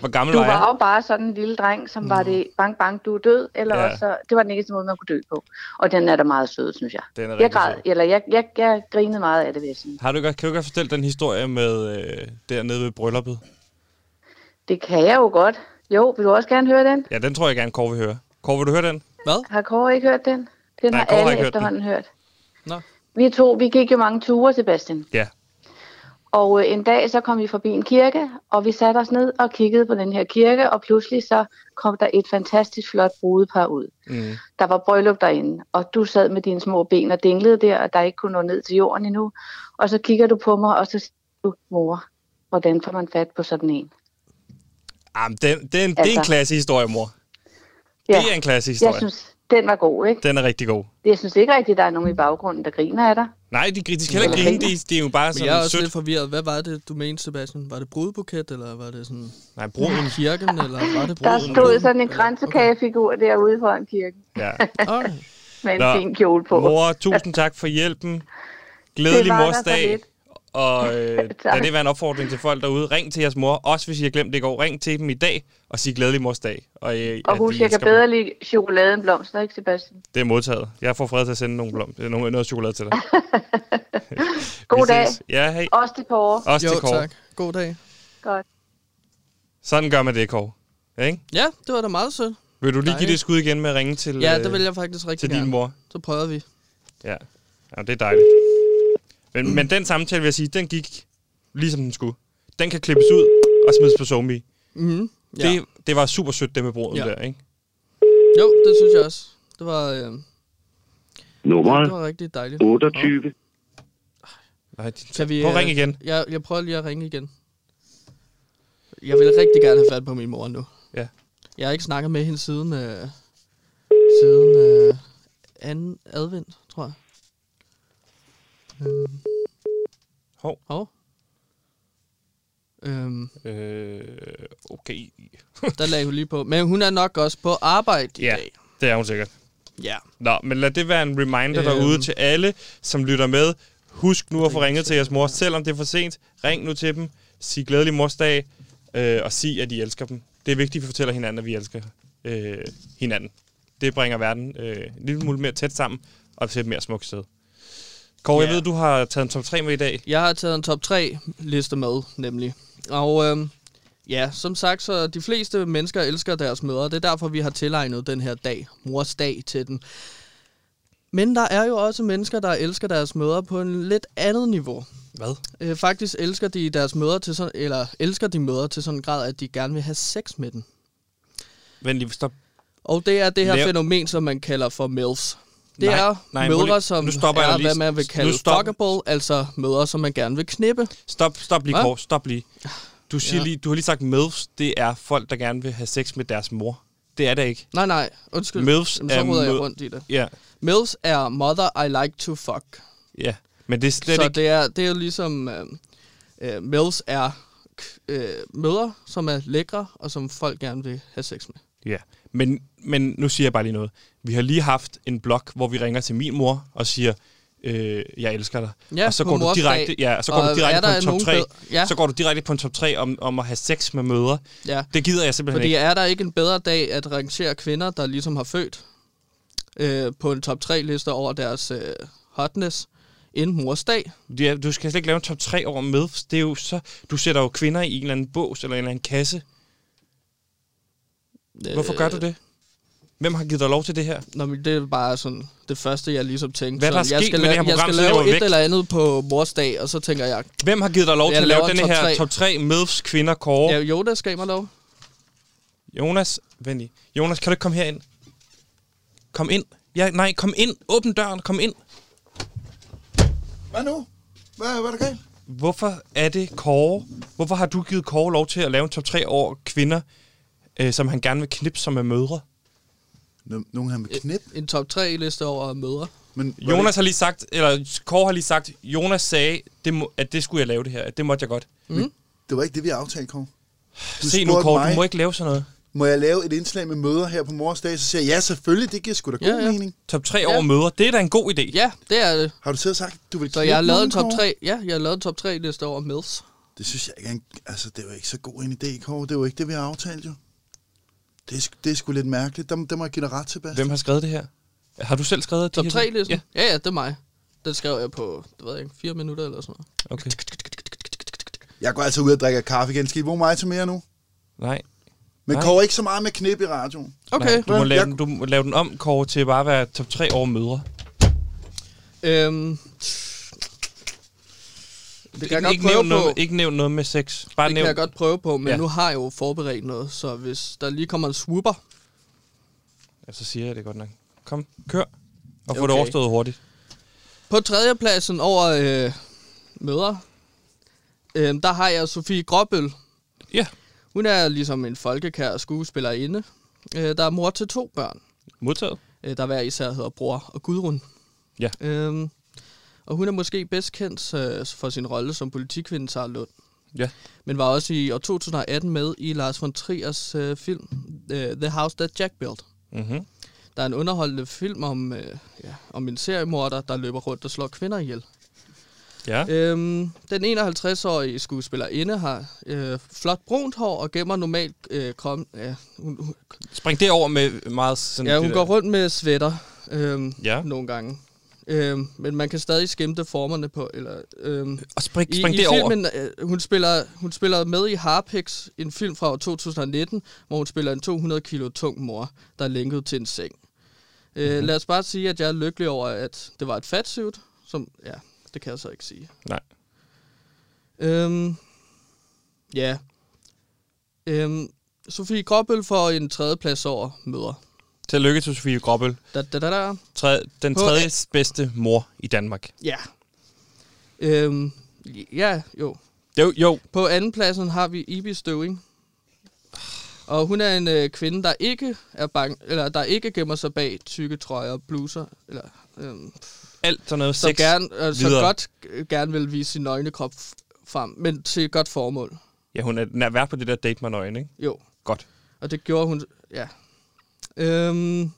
Speaker 1: Hvor gammel
Speaker 4: Du
Speaker 1: var jeg?
Speaker 4: var jo bare sådan en lille dreng, som var det bang bang, du er død, eller
Speaker 1: Mm. Ja.
Speaker 4: ja. også, det var den eneste måde, man kunne dø på. Og den er da meget sød, synes jeg.
Speaker 1: Den er
Speaker 4: Jeg
Speaker 1: rigtig
Speaker 4: græd,
Speaker 1: sød.
Speaker 4: eller jeg, jeg, jeg grinede meget af det, vil jeg sige.
Speaker 1: Har du godt, kan du godt fortælle den historie med øh, dernede ved brylluppet?
Speaker 4: Det kan jeg jo godt. Jo, vil du også gerne høre den?
Speaker 1: Ja, den tror jeg gerne, Kåre vil høre. Kåre, vil du høre den?
Speaker 2: Hvad?
Speaker 4: Har Kåre ikke hørt den? Den
Speaker 1: Nej,
Speaker 4: har
Speaker 1: Kåre har ikke
Speaker 4: alle
Speaker 1: hørt
Speaker 4: efterhånden hørt.
Speaker 2: Nå.
Speaker 4: Vi to, vi gik jo mange ture, Sebastian.
Speaker 1: Ja.
Speaker 4: Og øh, en dag så kom vi forbi en kirke, og vi satte os ned og kiggede på den her kirke, og pludselig så kom der et fantastisk flot brudepar ud.
Speaker 1: Mm.
Speaker 4: Der var bryllup derinde, og du sad med dine små ben og dinglede der, og der ikke kunne nå ned til jorden endnu. Og så kigger du på mig, og så siger du, mor, hvordan får man fat på sådan en?
Speaker 1: Jamen, den, den, altså, det er en
Speaker 4: Altså.
Speaker 1: klassehistorie, mor. Ja. Det er en
Speaker 4: jeg
Speaker 1: klassehistorie. Synes...
Speaker 4: synes, den var god, ikke?
Speaker 1: Den er rigtig god.
Speaker 4: Jeg synes ikke rigtigt, der er nogen i baggrunden, der griner af dig.
Speaker 1: Nej, de, de skal heller
Speaker 4: Eller
Speaker 1: ikke grine.
Speaker 4: griner.
Speaker 1: De, de er jo bare
Speaker 2: Men jeg er
Speaker 1: sådan
Speaker 2: også
Speaker 1: sødt.
Speaker 2: lidt forvirret. Hvad var det, du mente, Sebastian? Var det brudbuket, eller var det sådan
Speaker 1: Nej, brug min.
Speaker 2: kirken, eller var det
Speaker 4: Der
Speaker 2: bruden?
Speaker 4: stod sådan en kransekagefigur derude foran kirken
Speaker 1: Ja.
Speaker 2: Okay.
Speaker 4: med en
Speaker 1: Nå,
Speaker 4: fin kjole på.
Speaker 1: Mor, tusind tak for hjælpen. Glædelig
Speaker 4: Det var da
Speaker 1: mors
Speaker 4: så
Speaker 1: dag.
Speaker 4: lidt.
Speaker 1: Og øh,
Speaker 4: Tak.
Speaker 1: lad det være en opfordring til folk derude. Ring til jeres mor, også hvis I har glemt det i går. Ring til dem i dag og sig glædelig mors dag. Og, øh,
Speaker 4: Og
Speaker 1: at
Speaker 4: husk,
Speaker 1: I
Speaker 4: jeg kan
Speaker 1: elsker dem.
Speaker 4: bedre lide chokolade end blomster, ikke Sebastian?
Speaker 1: Det er modtaget. Jeg får fred til at sende nogle blom, øh, nogle, noget chokolade til dig.
Speaker 4: Ah, God
Speaker 1: Vi
Speaker 4: dag.
Speaker 1: ses. Ja, hej.
Speaker 4: Også til Kåre.
Speaker 1: Også
Speaker 2: Jo,
Speaker 1: til Kåre.
Speaker 2: tak. God dag.
Speaker 4: Godt.
Speaker 1: Sådan gør man det, Kåre. Ja, ikke?
Speaker 2: Ja, det var da meget sødt.
Speaker 1: Vil du lige give
Speaker 2: Dejligt.
Speaker 1: det skud igen med at ringe til,
Speaker 2: Ja,
Speaker 1: øh,
Speaker 2: det vil jeg faktisk rigtig
Speaker 1: til
Speaker 2: gerne.
Speaker 1: din mor?
Speaker 2: Så prøver vi.
Speaker 1: Ja. ja, det er dejligt. Men, men den samtale, vil jeg sige, den gik ligesom den skulle. Den kan klippes ud og smides på Zombie.
Speaker 2: Mm-hmm. Ja.
Speaker 1: Ja. Det, det var super sødt, det med bruden ja.
Speaker 2: Ja.
Speaker 1: der, ikke?
Speaker 2: Jo, det synes jeg også. Det var, øh, det
Speaker 3: Nummeret
Speaker 2: var rigtig dejligt.
Speaker 3: 28.
Speaker 1: Nej, de,
Speaker 2: Kan vi,
Speaker 1: Prøv
Speaker 2: øh,
Speaker 1: at ringe igen.
Speaker 2: Jeg, jeg prøver lige at ringe igen. Jeg vil rigtig gerne have fat på min mor nu.
Speaker 1: Ja.
Speaker 2: Jeg har ikke snakket med hende siden, øh, siden øh, anden advent, tror jeg. Øhm.
Speaker 1: Hov.
Speaker 2: Hov. Øhm,
Speaker 1: Øh, okay.
Speaker 2: der lagde hun lige på. Men hun er nok også på arbejde i
Speaker 1: Ja.
Speaker 2: dag.
Speaker 1: Det er hun sikkert.
Speaker 2: Ja.
Speaker 1: Nå, men lad det være en reminder
Speaker 2: Øhm.
Speaker 1: øhm. derude til alle, som lytter med. Husk nu at få ringet til jeres mor, selvom det er for sent. Ring nu til dem. Sig glædelig morsdag, øh, og sig, at I elsker dem. Det er vigtigt, at vi fortæller hinanden, at vi elsker øh, hinanden. Det bringer verden øh, en lille smule mere tæt sammen, og til et mere smukt sted. Kåre, yeah.
Speaker 2: Ja.
Speaker 1: jeg ved, du har taget en top 3 med i dag.
Speaker 2: Jeg har taget en top 3 liste med, nemlig. Og øhm, ja, som sagt, så de fleste mennesker elsker deres mødre. Det er derfor, vi har tilegnet den her dag, mors dag, til den. Men der er jo også mennesker, der elsker deres mødre på en lidt andet niveau.
Speaker 1: Hvad?
Speaker 2: Øh, faktisk elsker de deres mødre til sådan, eller elsker de mødre til sådan en grad, at de gerne vil have sex med den.
Speaker 1: Vent lige, stop.
Speaker 2: Og det er det her
Speaker 1: Lav-
Speaker 2: fænomen, som man kalder for MILFs. Det
Speaker 1: Nej,
Speaker 2: er
Speaker 1: nej, må
Speaker 2: mødre,
Speaker 1: lige-
Speaker 2: som
Speaker 1: nu stopper jeg
Speaker 2: er,
Speaker 1: dig lige.
Speaker 2: hvad man vil
Speaker 1: Nu
Speaker 2: kalde
Speaker 1: stop.
Speaker 2: fuckable, altså mødre, som man gerne vil knippe.
Speaker 1: Stop, stop lige,
Speaker 2: Hvad?
Speaker 1: Kåre. Stop lige. Du, siger
Speaker 2: Ja.
Speaker 1: ja. lige. du har lige sagt, MILFs, det er folk, der gerne vil have sex med deres mor. Det er det ikke.
Speaker 2: Nej, nej, undskyld.
Speaker 1: MILFs
Speaker 2: Jamen, så
Speaker 1: er
Speaker 2: ruder jeg
Speaker 1: mød-
Speaker 2: rundt i det.
Speaker 1: Ja,
Speaker 2: MILFs er Mother I Like To Fuck.
Speaker 1: ja. Men det er slet
Speaker 2: så
Speaker 1: ikke...
Speaker 2: det er, det er jo ligesom, øh, øh, MILFs er k- øh, mødre, som er lækre, og som folk gerne vil have sex med.
Speaker 1: Ja, men, men nu siger jeg bare lige noget. Vi har lige haft en blog, hvor vi ringer til min mor og siger, øh, jeg elsker dig.
Speaker 2: Ja,
Speaker 1: og så
Speaker 2: på
Speaker 1: går du
Speaker 2: mors
Speaker 1: direkte,
Speaker 2: dag.
Speaker 1: ja, så går
Speaker 2: Og
Speaker 1: du direkte
Speaker 2: er
Speaker 1: på
Speaker 2: der
Speaker 1: en top
Speaker 2: nogen
Speaker 1: 3.
Speaker 2: bed- ja.
Speaker 1: Så går du direkte på en top 3 om, om at have sex med mødre.
Speaker 2: Ja.
Speaker 1: Det gider jeg simpelthen
Speaker 2: Fordi
Speaker 1: ikke.
Speaker 2: er der ikke en bedre dag at rangere kvinder, der ligesom har født øh, på en top 3-liste over deres øh, hotness, end mors dag?
Speaker 1: Ja, du skal slet ikke lave en top 3 over med. Det er jo så, du sætter jo kvinder i en eller anden bås eller en eller anden kasse. Hvorfor gør du det? Hvem har givet dig lov til det her?
Speaker 2: Nå, men det er bare sådan det første, jeg ligesom tænkte.
Speaker 1: Hvad er der
Speaker 2: sådan, jeg
Speaker 1: sket
Speaker 2: skal,
Speaker 1: med
Speaker 2: lave,
Speaker 1: det her
Speaker 2: jeg
Speaker 1: program,
Speaker 2: skal
Speaker 1: siden jeg
Speaker 2: lave
Speaker 1: var
Speaker 2: et
Speaker 1: væk?
Speaker 2: eller andet på mors dag, og så tænker jeg,
Speaker 1: Hvem har givet dig lov
Speaker 2: Jeg
Speaker 1: til at lave
Speaker 2: laver en
Speaker 1: den
Speaker 2: top
Speaker 1: her
Speaker 2: tre.
Speaker 1: top 3 MILFs kvinder, Kåre?
Speaker 2: ja, jo, der skal mig lov.
Speaker 1: Jonas, vent lige. Jonas, kan du ikke komme herind? Kom ind. Ja, nej, kom ind. Åbn døren, kom ind.
Speaker 5: Hvad nu? Hvad, hvad er der galt?
Speaker 1: Hvorfor er det Kåre? Hvorfor har du givet Kåre lov til at lave en top 3 over kvinder, øh, som han gerne vil knipse som er mødre?
Speaker 5: Nogen han vil knip.
Speaker 2: En top 3-liste over mødre.
Speaker 3: Men var
Speaker 1: Øh, Jonas har lige sagt, eller Kåre har lige sagt, Jonas sagde, det må, at det skulle jeg lave det her. At det måtte jeg godt.
Speaker 3: Det, det var ikke det, vi aftalte, Kåre. Du
Speaker 1: Se nu,
Speaker 3: spurgte
Speaker 1: Kåre, du
Speaker 3: mig-
Speaker 1: må ikke lave sådan noget.
Speaker 3: Må jeg lave et indslag med møder her på mors dag? Så siger jeg, ja, selvfølgelig, det giver sgu da god
Speaker 2: Ja, ja.
Speaker 3: mening.
Speaker 1: Top 3 ja.
Speaker 2: Ja.
Speaker 1: over møder, det er da en god idé.
Speaker 2: Ja, det er det.
Speaker 3: Har du siddet og sagt, du vil
Speaker 2: Så
Speaker 3: knippe
Speaker 2: jeg har lavet en top
Speaker 3: nogen, Kåre?
Speaker 2: 3. Ja, jeg har lavet en top 3 liste over Mills.
Speaker 3: Det synes jeg ikke er en, Altså, det var ikke så god en idé, Kåre. Det var ikke det, vi har aftalt, jo. Det er, sgu- det er sgu lidt mærkeligt. Der, der må jeg give dig ret, Sebastian.
Speaker 1: Hvem har skrevet det her? Har du selv skrevet det?
Speaker 2: Top
Speaker 1: her?
Speaker 2: 3 listen?
Speaker 1: Ja,
Speaker 2: Ja. ja, ja, det er mig. Den skrev jeg på, det ved jeg ikke, 4 minutter eller sådan noget.
Speaker 1: okay.
Speaker 3: Jeg går altså ud og drikker kaffe igen. Skal I bruge mig til mere nu?
Speaker 1: Nej.
Speaker 3: Men
Speaker 1: Nej.
Speaker 3: Kåre, ikke så meget med knip i radioen.
Speaker 2: Okay.
Speaker 1: Nej, du, må
Speaker 3: Hvad?
Speaker 1: lave
Speaker 3: Jeg-
Speaker 1: den, du må lave den om, Kåre, til bare at være top 3 over mødre.
Speaker 2: Øhm, det kan jeg godt
Speaker 1: ikke,
Speaker 2: prøve
Speaker 1: nævn noget,
Speaker 2: på.
Speaker 1: ikke nævn noget med sex. Bare
Speaker 2: det
Speaker 1: nævn,
Speaker 2: kan jeg godt prøve på, men
Speaker 1: Ja.
Speaker 2: ja. nu har jeg jo forberedt noget, så hvis der lige kommer en swooper,
Speaker 1: Ja, så siger jeg det godt nok. Kom, kør. Og få
Speaker 2: Okay.
Speaker 1: det overstået hurtigt.
Speaker 2: På tredjepladsen over øh, møder, øh, der har jeg Sofie Gråbøl.
Speaker 1: Ja.
Speaker 2: Hun er ligesom en folkekær skuespillerinde, øh, der er mor til to børn,
Speaker 1: Modtaget.
Speaker 2: øh, der hver især hedder Bror og Gudrun.
Speaker 1: Ja.
Speaker 2: Øh, og hun er måske bedst kendt øh, for sin rolle som politikvinde Sara Lund,
Speaker 1: Ja.
Speaker 2: men var også i år 2018 med i Lars von Triers øh, film øh, The House That Jack Built.
Speaker 1: Mm-hmm.
Speaker 2: Der er en underholdende film om, øh, ja, om en seriemorder, der løber rundt og slår kvinder ihjel.
Speaker 1: Ja.
Speaker 2: Øhm, den 51-årige skuespillerinde har øh, flot brunt hår og gemmer normalt øh, kom, ja, hun, hun,
Speaker 1: Spring det over med meget sådan...
Speaker 2: ja,
Speaker 1: det
Speaker 2: hun
Speaker 1: der-
Speaker 2: går rundt med sweater øhm,
Speaker 1: Ja.
Speaker 2: ja. nogle gange. Øhm, men man kan stadig skimte formerne på. Eller, øhm,
Speaker 1: Og spring,
Speaker 2: i,
Speaker 1: spring
Speaker 2: i
Speaker 1: det over.
Speaker 2: filmen, øh, hun, spiller, hun spiller med i Harpix, en film fra år 2019, hvor hun spiller en 200 kilo tung mor, der er lænket til en seng. Øh, Lad os bare sige, at jeg er lykkelig over, at det var et fatsuit, som, ja, det kan jeg så ikke sige.
Speaker 1: Nej.
Speaker 2: Øhm, ja. Øhm, Sofie Gråbøl får en tredjeplads over møder.
Speaker 1: Tillykke til Sofie Gråbøl.
Speaker 2: Da, da, da, da.
Speaker 1: Træ, den
Speaker 2: På-
Speaker 1: tredje bedste mor i Danmark.
Speaker 2: Ja. Øhm, ja, jo.
Speaker 1: Jo, jo.
Speaker 2: På andenpladsen har vi Ibi Støving. Og hun er en øh, kvinde, der ikke er bange, eller der ikke gemmer sig bag tykke trøjer og bluser, eller, øhm,
Speaker 1: Alt sådan noget
Speaker 2: så,
Speaker 1: sex.
Speaker 2: gerne, øh, så
Speaker 1: videre.
Speaker 2: godt øh, gerne vil vise sin nøgne krop f- frem, men til et godt formål.
Speaker 1: Ja, hun er, den er vært på det der date med nøgen, ikke?
Speaker 2: Jo.
Speaker 1: Godt.
Speaker 2: Og det gjorde hun, ja. Øhm,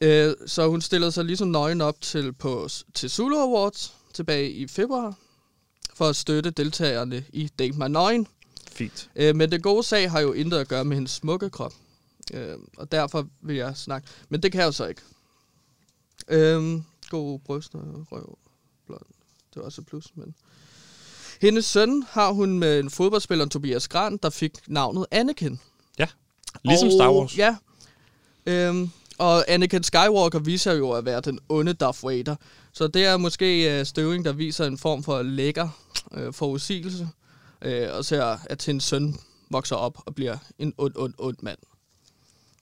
Speaker 2: øh, så hun stillede sig ligesom nøgen op til, på, til Zulu Awards tilbage i februar, for at støtte deltagerne i Date My Nøgen.
Speaker 1: Fint.
Speaker 2: Øh, men den gode sag har jo intet at gøre med hendes smukke krop. Øh, og derfor vil jeg snakke. Men det kan jeg jo så ikke. Øh, god bryst og røv. Blond. Det var også et plus, men... Hendes søn har hun med en fodboldspiller, Tobias Gran, der fik navnet Anakin.
Speaker 1: Ja. Ligesom
Speaker 2: og,
Speaker 1: Star Wars.
Speaker 2: Ja. Øhm, og Anakin Skywalker viser jo at være den onde Darth Vader. Så det er måske øh, Støving, der viser en form for lækker øh, forudsigelse. Øh, og ser, at hendes søn vokser op og bliver en ond, ond, ond mand.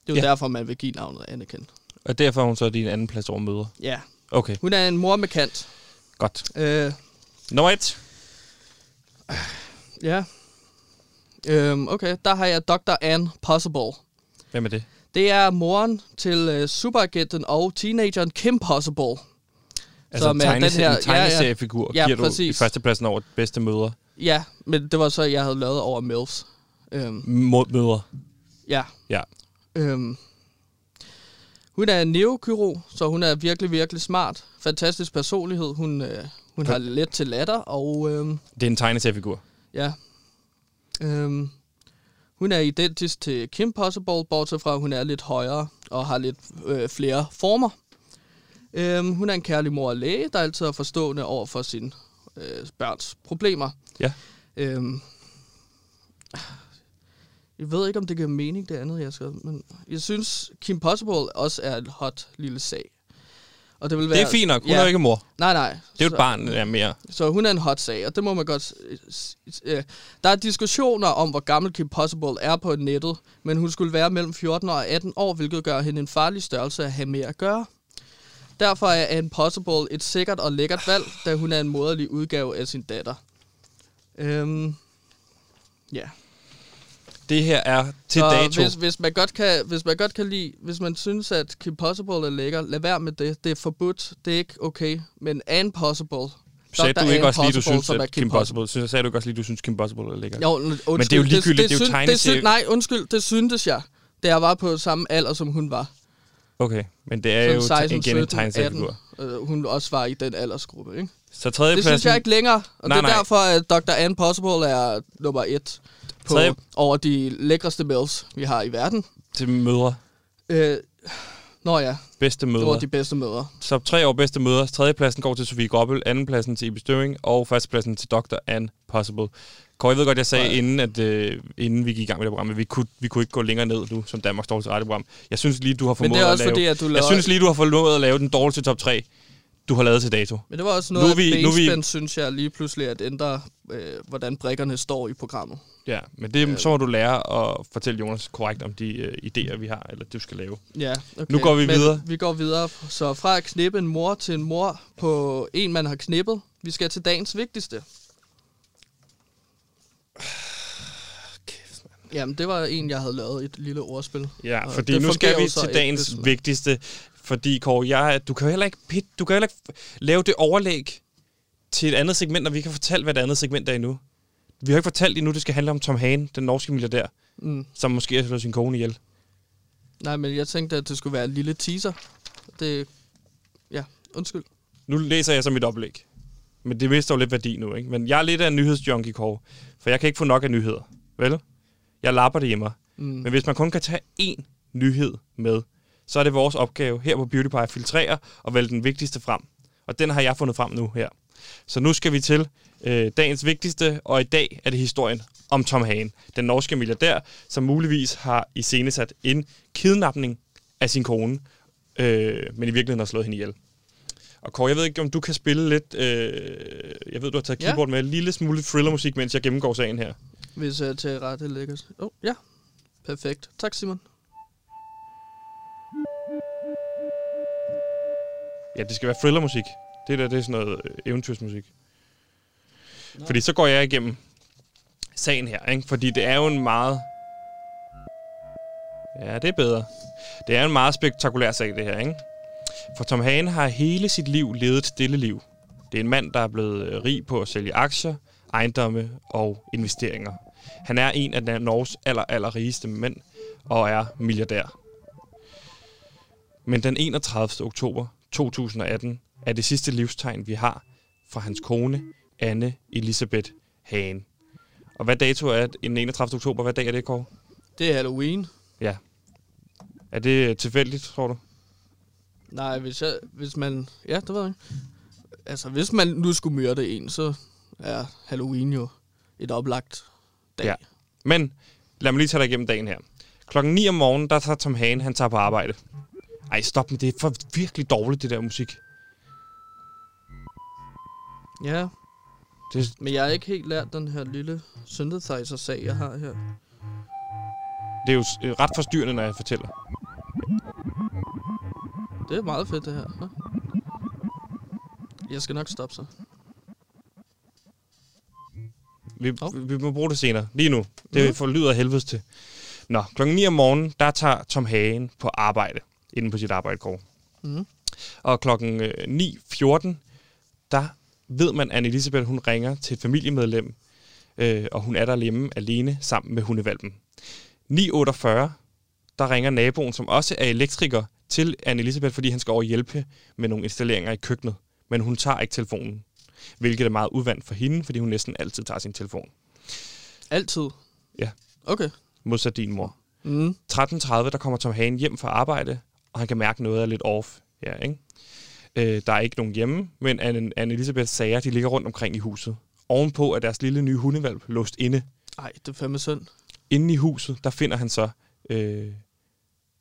Speaker 2: Det er jo
Speaker 1: Ja.
Speaker 2: ja. derfor, man vil give navnet Anakin.
Speaker 1: Og derfor er hun så din anden plads over møder.
Speaker 2: Ja.
Speaker 1: Okay,
Speaker 2: Hun er en mor med kant.
Speaker 1: godt.
Speaker 2: Øh,
Speaker 1: Nummer et.
Speaker 2: ja. Øhm, okay, der har jeg Dr. Anne Possible.
Speaker 1: Hvem er det?
Speaker 2: Det er moren til øh, superagenten og teenageren Kim Possible.
Speaker 1: Altså
Speaker 2: Som er
Speaker 1: tegne,
Speaker 2: den her-
Speaker 1: en tegneseriefigur
Speaker 2: ja, ja. Ja,
Speaker 1: giver du i
Speaker 2: præcis.
Speaker 1: førstepladsen over bedste møder.
Speaker 2: Ja, men det var så, jeg havde lavet over MILFs. Øhm,
Speaker 1: Mod møder.
Speaker 2: ja.
Speaker 1: Ja.
Speaker 2: Øhm. Hun er en neokyrog, så hun er virkelig, virkelig smart. Fantastisk personlighed. Hun, øh, hun har let til latter, og øhm,
Speaker 1: Det er en tegneseriefigur.
Speaker 2: ja. Øhm. Hun er identisk til Kim Possible, bortset fra, at hun er lidt højere og har lidt øh, flere former. Øhm, hun er en kærlig mor og læge, der altid er forstående over for sine øh, børns problemer.
Speaker 1: Ja.
Speaker 2: Øhm. Jeg ved ikke, om det giver mening, det andet, jeg skal, men jeg synes, Kim Possible også er en hot lille sag. Og det, vil være,
Speaker 1: Det er fint nok. Hun ja. er jo ikke mor.
Speaker 2: Nej, nej.
Speaker 1: Det er jo
Speaker 2: så,
Speaker 1: et barn, der er mere.
Speaker 2: Så hun er en hot sag, og det må man godt... s- s- s- øh. Der er diskussioner om, hvor gammel Kim Possible er på nettet, men hun skulle være mellem 14 og 18 år, hvilket gør hende en farlig størrelse at have med at gøre. Derfor er Anne Possible et sikkert og lækkert valg, da hun er en moderlig udgave af sin datter. Øhm, ja.
Speaker 1: Det her er til
Speaker 2: Så
Speaker 1: dato.
Speaker 2: Hvis, hvis, man godt kan, hvis man godt kan lide, hvis man synes, at Kim Possible er lækker, lad være med det. Det er forbudt, det er ikke okay. Men Anne Possible.
Speaker 1: Sagde
Speaker 2: Dr.
Speaker 1: du ikke
Speaker 2: Anne
Speaker 1: også lige, du
Speaker 2: Possible,
Speaker 1: synes,
Speaker 2: som er
Speaker 1: at Kim Possible... Synes, sagde du ikke også lige, du synes, Kim Possible er lækker?
Speaker 2: Jo, undskyld,
Speaker 1: Men det er jo ligegyldigt, det er jo
Speaker 2: syn- det
Speaker 1: tegneserie.
Speaker 2: syn- Nej, undskyld, det syntes jeg, da jeg var på samme alder, som hun var.
Speaker 1: Okay, men det er
Speaker 2: Som
Speaker 1: jo
Speaker 2: 16,
Speaker 1: igen en
Speaker 2: 17, 18.
Speaker 1: tegneseriefigur.
Speaker 2: Øh, hun også var i den aldersgruppe, ikke?
Speaker 1: Så tredje
Speaker 2: Det synes jeg ikke længere, og
Speaker 1: Nej,
Speaker 2: nej, det er
Speaker 1: nej.
Speaker 2: nej. derfor, at Dr. Anne Possible er nummer et på,
Speaker 1: Tredje-
Speaker 2: over de lækreste males, vi har i verden.
Speaker 1: til mødre.
Speaker 2: Øh, nå ja,
Speaker 1: Bedste
Speaker 2: det var
Speaker 1: mødre.
Speaker 2: de
Speaker 1: De...
Speaker 2: bedste møder.
Speaker 1: Så tre år bedste mødre. Tredjepladsen går til Sofie Gobbel, andenpladsen til Ibi Støving, og førstepladsen til Dr. Anne Possible. Kåre, jeg ved godt, jeg sagde, inden, at, øh, inden vi gik i gang med det program, at vi kunne, vi kunne ikke gå længere ned nu, som Danmarks dårligste radioprogram. Jeg synes lige, du har
Speaker 2: Men
Speaker 1: formået
Speaker 2: det er også
Speaker 1: at lave...
Speaker 2: fordi, at du laver-
Speaker 1: Jeg synes lige, du har formået at lave den dårligste top 3, du har lavet til dato.
Speaker 2: Men det var også
Speaker 1: Nu
Speaker 2: noget,
Speaker 1: er vi-
Speaker 2: at
Speaker 1: nu er vi-
Speaker 2: benspænd, synes jeg lige pludselig, at ændre, øh, hvordan brikkerne står i programmet.
Speaker 1: Ja, men det, så må du lære at fortælle Jonas korrekt om de øh, idéer, vi har, eller det, du skal lave.
Speaker 2: Ja, okay.
Speaker 1: Nu går vi
Speaker 2: Men
Speaker 1: videre.
Speaker 2: Vi går videre. Så fra at knippe en mor til en mor på en, man har knippet, vi skal til dagens vigtigste.
Speaker 1: Kæft,
Speaker 2: Jamen, det var en, jeg havde lavet et lille ordspil.
Speaker 1: Ja,
Speaker 2: Og
Speaker 1: fordi
Speaker 2: det
Speaker 1: nu skal
Speaker 2: fungerer
Speaker 1: vi
Speaker 2: jo så
Speaker 1: til
Speaker 2: ikke,
Speaker 1: dagens
Speaker 2: desværre.
Speaker 1: vigtigste. Fordi, Kåre, jeg, du kan jo heller ikke, pit, du kan jo heller ikke f- lave det overlæg til et andet segment, når vi ikke har fortalt, hvad det andet segment er endnu. Vi har ikke fortalt endnu, det skal handle om Tom Hane, den norske milliardær,
Speaker 2: Mm.
Speaker 1: som måske har slået sin kone ihjel.
Speaker 2: Nej, men jeg tænkte, at det skulle være en lille teaser. Det... Ja, undskyld.
Speaker 1: Nu læser jeg så mit oplæg. Men det mister jo lidt værdi nu, ikke? Men jeg er lidt af en nyhedsjunkie, Kåre. For jeg kan ikke få nok af nyheder, vel? Jeg lapper det i mig. Mm. Men hvis man kun kan tage én nyhed med, så er det vores opgave her på Beauty Pie at filtrere og vælge den vigtigste frem. Og den har jeg fundet frem nu her. Så nu skal vi til øh, dagens vigtigste, og i dag er det historien om Tom Hagen, den norske milliardær, som muligvis har iscenesat en kidnapning af sin kone, øh, men i virkeligheden har slået hende ihjel. Og Kåre, jeg ved ikke, om du kan spille lidt... Øh, jeg ved, du har taget
Speaker 2: Ja.
Speaker 1: keyboard med en lille smule thrillermusik, mens jeg gennemgår sagen her.
Speaker 2: Hvis jeg til rette lægger... Åh, oh, ja. Perfekt. Tak, Simon.
Speaker 1: Ja, det skal være thrillermusik. Det der, det er sådan noget øh, eventyrsmusik. Fordi så går jeg igennem sagen her, ikke? Fordi det er jo en meget... Ja, det er bedre. Det er en meget spektakulær sag, det her, ikke? For Tom Hagen har hele sit liv levet et stille liv. Det er en mand, der er blevet øh, rig på at sælge aktier, ejendomme og investeringer. Han er en af Norges aller, aller rigeste mænd og er milliardær. Men den 31. oktober 2018 er det sidste livstegn, vi har fra hans kone, Anne Elisabeth Hagen. Og hvad dato er det- den 31. oktober? Hvad dag er det, Kåre?
Speaker 2: Det er Halloween.
Speaker 1: Ja. Er det øh, tilfældigt, tror du?
Speaker 2: Nej, hvis, jeg, hvis man... Ja, det ved jeg ikke. Altså, hvis man nu skulle myrde en, så er Halloween jo et oplagt dag.
Speaker 1: Ja. Men lad mig lige tage dig igennem dagen her. Klokken 9 om morgenen, der tager Tom Hagen, han tager på arbejde. Ej, stop med det. er for virkelig dårligt, det der musik.
Speaker 2: ja.
Speaker 1: Det er
Speaker 2: Men jeg har ikke helt lært den her lille synthesizer-sag, jeg har her.
Speaker 1: det er jo øh, ret forstyrrende, når jeg fortæller.
Speaker 2: Det er meget fedt, det her. Nå. Jeg skal nok stoppe så.
Speaker 1: Vi,
Speaker 2: Hov. Mhm.
Speaker 1: vi må bruge det senere. Lige nu. Det mm. forlyder af helvedes til. Nå, klokken 9 om morgenen, der tager Tom Hagen på arbejde. Inden på sit arbejde går.
Speaker 2: Mhm.
Speaker 1: Og klokken øh, 9.14, der ved man, at Elisabeth hun ringer til et familiemedlem. Øh, og hun er derhjemme alene sammen med hundevalpen. 9.48, der ringer naboen, som også er elektriker, til Anne Elisabeth, fordi han skal over og hjælpe med nogle installeringer i køkkenet. Men hun tager ikke telefonen. Hvilket er meget uvandt for hende, fordi hun næsten altid tager sin telefon.
Speaker 2: Altid.
Speaker 1: Ja.
Speaker 2: Okay.
Speaker 1: Modsat din mor.
Speaker 2: Mm.
Speaker 1: 13.30, der kommer Tom Hagen hjem fra arbejde, og han kan mærke noget er lidt off. Ja, ikke? Øh, der er ikke nogen hjemme, men Anne, Anne Elisabeths sager, de ligger rundt omkring i huset. Ovenpå er deres lille nye hundevalp låst inde.
Speaker 2: Ej, det er fandme synd.
Speaker 1: Inde i huset, der finder han så øh,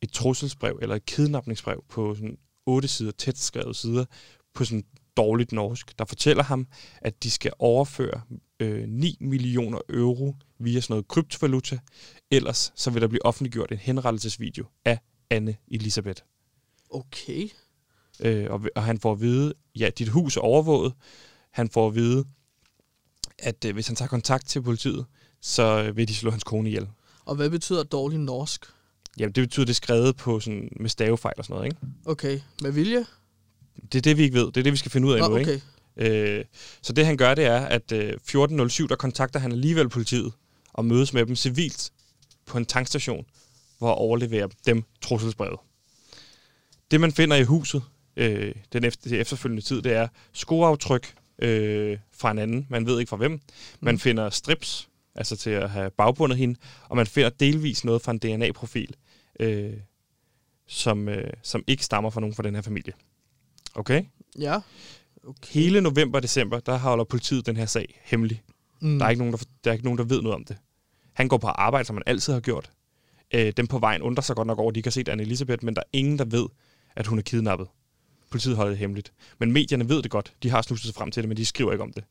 Speaker 1: et trusselsbrev, eller et kidnapningsbrev på sådan otte sider, tæt skrevet sider, på sådan dårligt norsk, der fortæller ham, at de skal overføre øh, 9 millioner euro via sådan noget kryptovaluta, ellers så vil der blive offentliggjort en henrettelsesvideo af Anne Elisabeth.
Speaker 2: Okay.
Speaker 1: Øh, og, og han får at vide, ja, dit hus er overvåget. Han får at vide, at øh, hvis han tager kontakt til politiet, så øh, vil de slå hans kone ihjel.
Speaker 2: Og hvad betyder dårlig norsk?
Speaker 1: Jamen, det betyder, det er skrevet på sådan, med stavefejl og sådan noget, ikke?
Speaker 2: Okay, med vilje?
Speaker 1: Det er det, vi ikke ved. Det er det, vi skal finde ud af
Speaker 2: Nå,
Speaker 1: nu, ikke?
Speaker 2: okay.
Speaker 1: Øh, så det han gør, det er, at øh, 14.07, der kontakter han alligevel politiet og mødes med dem civilt på en tankstation, hvor han overleverer dem trusselsbrevet. Det, man finder i huset øh, den efter, det efterfølgende tid, det er skoaftryk øh, fra en anden. Man ved ikke fra hvem. Man finder strips, altså til at have bagbundet hende, og man finder delvis noget fra en DNA-profil, øh, som, øh, som ikke stammer fra nogen fra den her familie. Okay?
Speaker 2: Ja.
Speaker 1: Hele november og december, der holder politiet den her sag hemmelig.
Speaker 2: Mm.
Speaker 1: Mm. Der, er ikke nogen, der, der er ikke nogen, der ved noget om det. Han går på arbejde, som han altid har gjort. Øh, dem på vejen undrer sig godt nok over, at de ikke har set Anne Elisabeth, men der er ingen, der ved, at hun er kidnappet. Politiet holder det hemmeligt. Men medierne ved det godt. De har snuset sig frem til det, men de skriver ikke om det.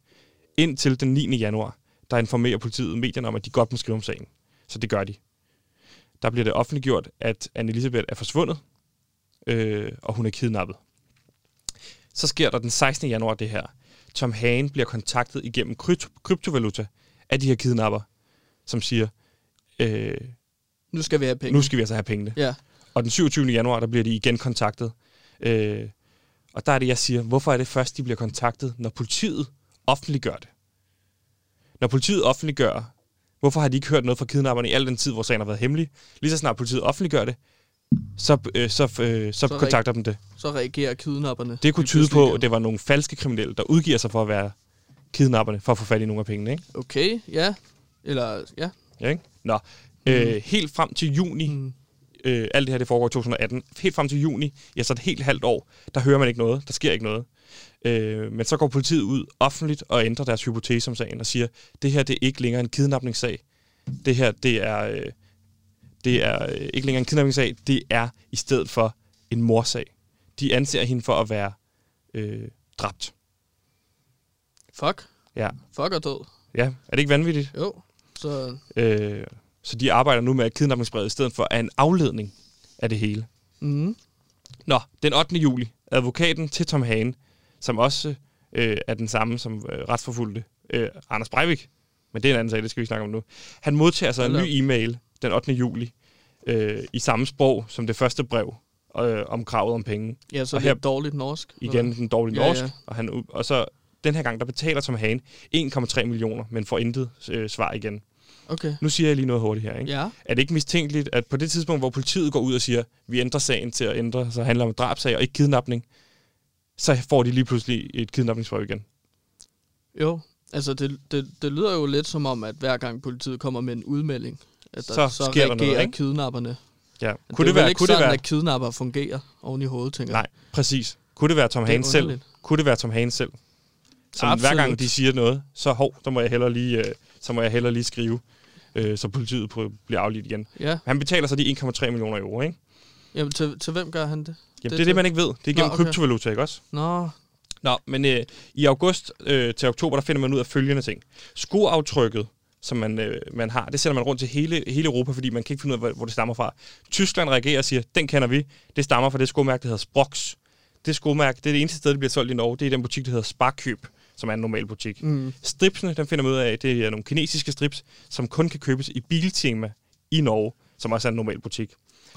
Speaker 1: Indtil den 9. januar, der informerer politiet medierne om, at de godt må skrive om sagen. Så det gør de. Der bliver det offentliggjort, at Anne Elisabeth er forsvundet, øh, og hun er kidnappet. Så sker der den 16. januar det her. Tom Hagen bliver kontaktet igennem krypt- kryptovaluta af de her kidnapper, som siger, øh,
Speaker 2: Nu skal vi have penge.
Speaker 1: nu skal vi altså have pengene.
Speaker 2: Ja.
Speaker 1: Og den 27. januar, der bliver de igen kontaktet. Øh, og der er det, jeg siger, hvorfor er det først, de bliver kontaktet, når politiet offentliggør det? Når politiet offentliggør, hvorfor har de ikke hørt noget fra kidnapperne i al den tid, hvor sagen har været hemmelig? Lige så snart politiet offentliggør det, så, øh, så, øh, så,
Speaker 2: Så er
Speaker 1: så
Speaker 2: der
Speaker 1: kontakter dem det.
Speaker 2: Så reagerer kidnapperne.
Speaker 1: Det kunne
Speaker 2: lige
Speaker 1: tyde
Speaker 2: pludselig
Speaker 1: på,
Speaker 2: igen.
Speaker 1: at det var nogle falske kriminelle, der udgiver sig for at være kidnapperne, for at få fat i nogle af pengene. Ikke?
Speaker 2: Okay, ja. Eller, ja.
Speaker 1: Ja, ikke? Nå.
Speaker 2: Mm.
Speaker 1: Øh, helt frem til juni, mm. øh, alt det her det foregår i 2018, helt frem til juni, ja, så et helt halvt år, der hører man ikke noget, der sker ikke noget. Øh, men så går politiet ud offentligt og ændrer deres hypotese om sagen og siger, det her det er ikke længere en kidnapningssag. Det her det er, øh, det er øh, ikke længere en kidnapningssag, det er i stedet for en morsag. De anser hende for at være øh, dræbt.
Speaker 2: Fuck.
Speaker 1: Ja.
Speaker 2: Fuck og død.
Speaker 1: ja, er det ikke vanvittigt?
Speaker 2: Jo. Så,
Speaker 1: Øh, så de arbejder nu med, at kidnappingsbrevet i stedet for er en afledning af det hele.
Speaker 2: mm.
Speaker 1: Nå, den 8. juli, advokaten til Tom Hagen, som også øh, er den samme som øh, retsforfulgte øh, Anders Breivik, men det er en anden sag, det skal vi ikke snakke om nu. Han modtager så en
Speaker 2: Hold
Speaker 1: ny e-mail den 8. juli øh, i samme sprog som det første brev øh, om kravet om penge.
Speaker 2: Ja, så
Speaker 1: Og
Speaker 2: det er
Speaker 1: her-
Speaker 2: dårligt norsk.
Speaker 1: Igen den dårlige
Speaker 2: Ja,
Speaker 1: norsk, ja,
Speaker 2: ja.
Speaker 1: ja. Og, han, ud- og så den her gang, der betaler Tom Hagen 1,3 millioner, men får intet øh, svar igen.
Speaker 2: Okay.
Speaker 1: Nu siger jeg lige noget hurtigt her, ikke?
Speaker 2: Ja.
Speaker 1: Er det ikke mistænkeligt, at på det tidspunkt, hvor politiet går ud og siger, vi ændrer sagen til at ændre, så handler det om drabsag og ikke kidnapning, så får de lige pludselig et kidnapningsbrev igen.
Speaker 2: Jo. Altså, det, det, det lyder jo lidt som om, at hver gang politiet kommer med en udmelding, at der,
Speaker 1: Så
Speaker 2: så
Speaker 1: sker der
Speaker 2: reagerer
Speaker 1: noget, ikke?
Speaker 2: kidnapperne.
Speaker 1: Ja.
Speaker 2: Men
Speaker 1: Kunne
Speaker 2: det,
Speaker 1: det,
Speaker 2: er vel
Speaker 1: være,
Speaker 2: ikke
Speaker 1: kunne det
Speaker 2: sådan,
Speaker 1: være,
Speaker 2: at kidnapper fungerer oven i hovedet, tænker jeg.
Speaker 1: nej, præcis. Kunne det være Tom
Speaker 2: Det er
Speaker 1: Hagen selv?
Speaker 2: underligt.
Speaker 1: Kunne det være Tom Hagen selv? Som hver
Speaker 2: Absolut.
Speaker 1: gang de siger noget, så hov, så må jeg hellere lige, øh, så må jeg hellere lige skrive, øh, så politiet på- bliver aflidt igen.
Speaker 2: Ja.
Speaker 1: Han betaler så de 1,3 millioner euro, ikke?
Speaker 2: Jamen, til, til hvem gør han det?
Speaker 1: Jamen, det, det er det, man ikke ved. Det er gennem
Speaker 2: okay.
Speaker 1: okay. kryptovaluta, ikke også?
Speaker 2: Nå,
Speaker 1: Nå, men øh, i august øh, til oktober, der finder man ud af følgende ting. Skoaftrykket, som man, øh, man har, det sender man rundt til hele, hele Europa, fordi man kan ikke finde ud af, hvor, hvor det stammer fra. Tyskland reagerer og siger, den kender vi. Det stammer fra det skomærke, der hedder Sprox. Det skomærke, det er det eneste sted, det bliver solgt i Norge. Det er i den butik, der hedder Sparkøb, som er en normal butik. Mm. Stripsene, den finder man ud af, det er nogle kinesiske strips, som kun kan købes i Biltema i Norge, som også er en normal butik.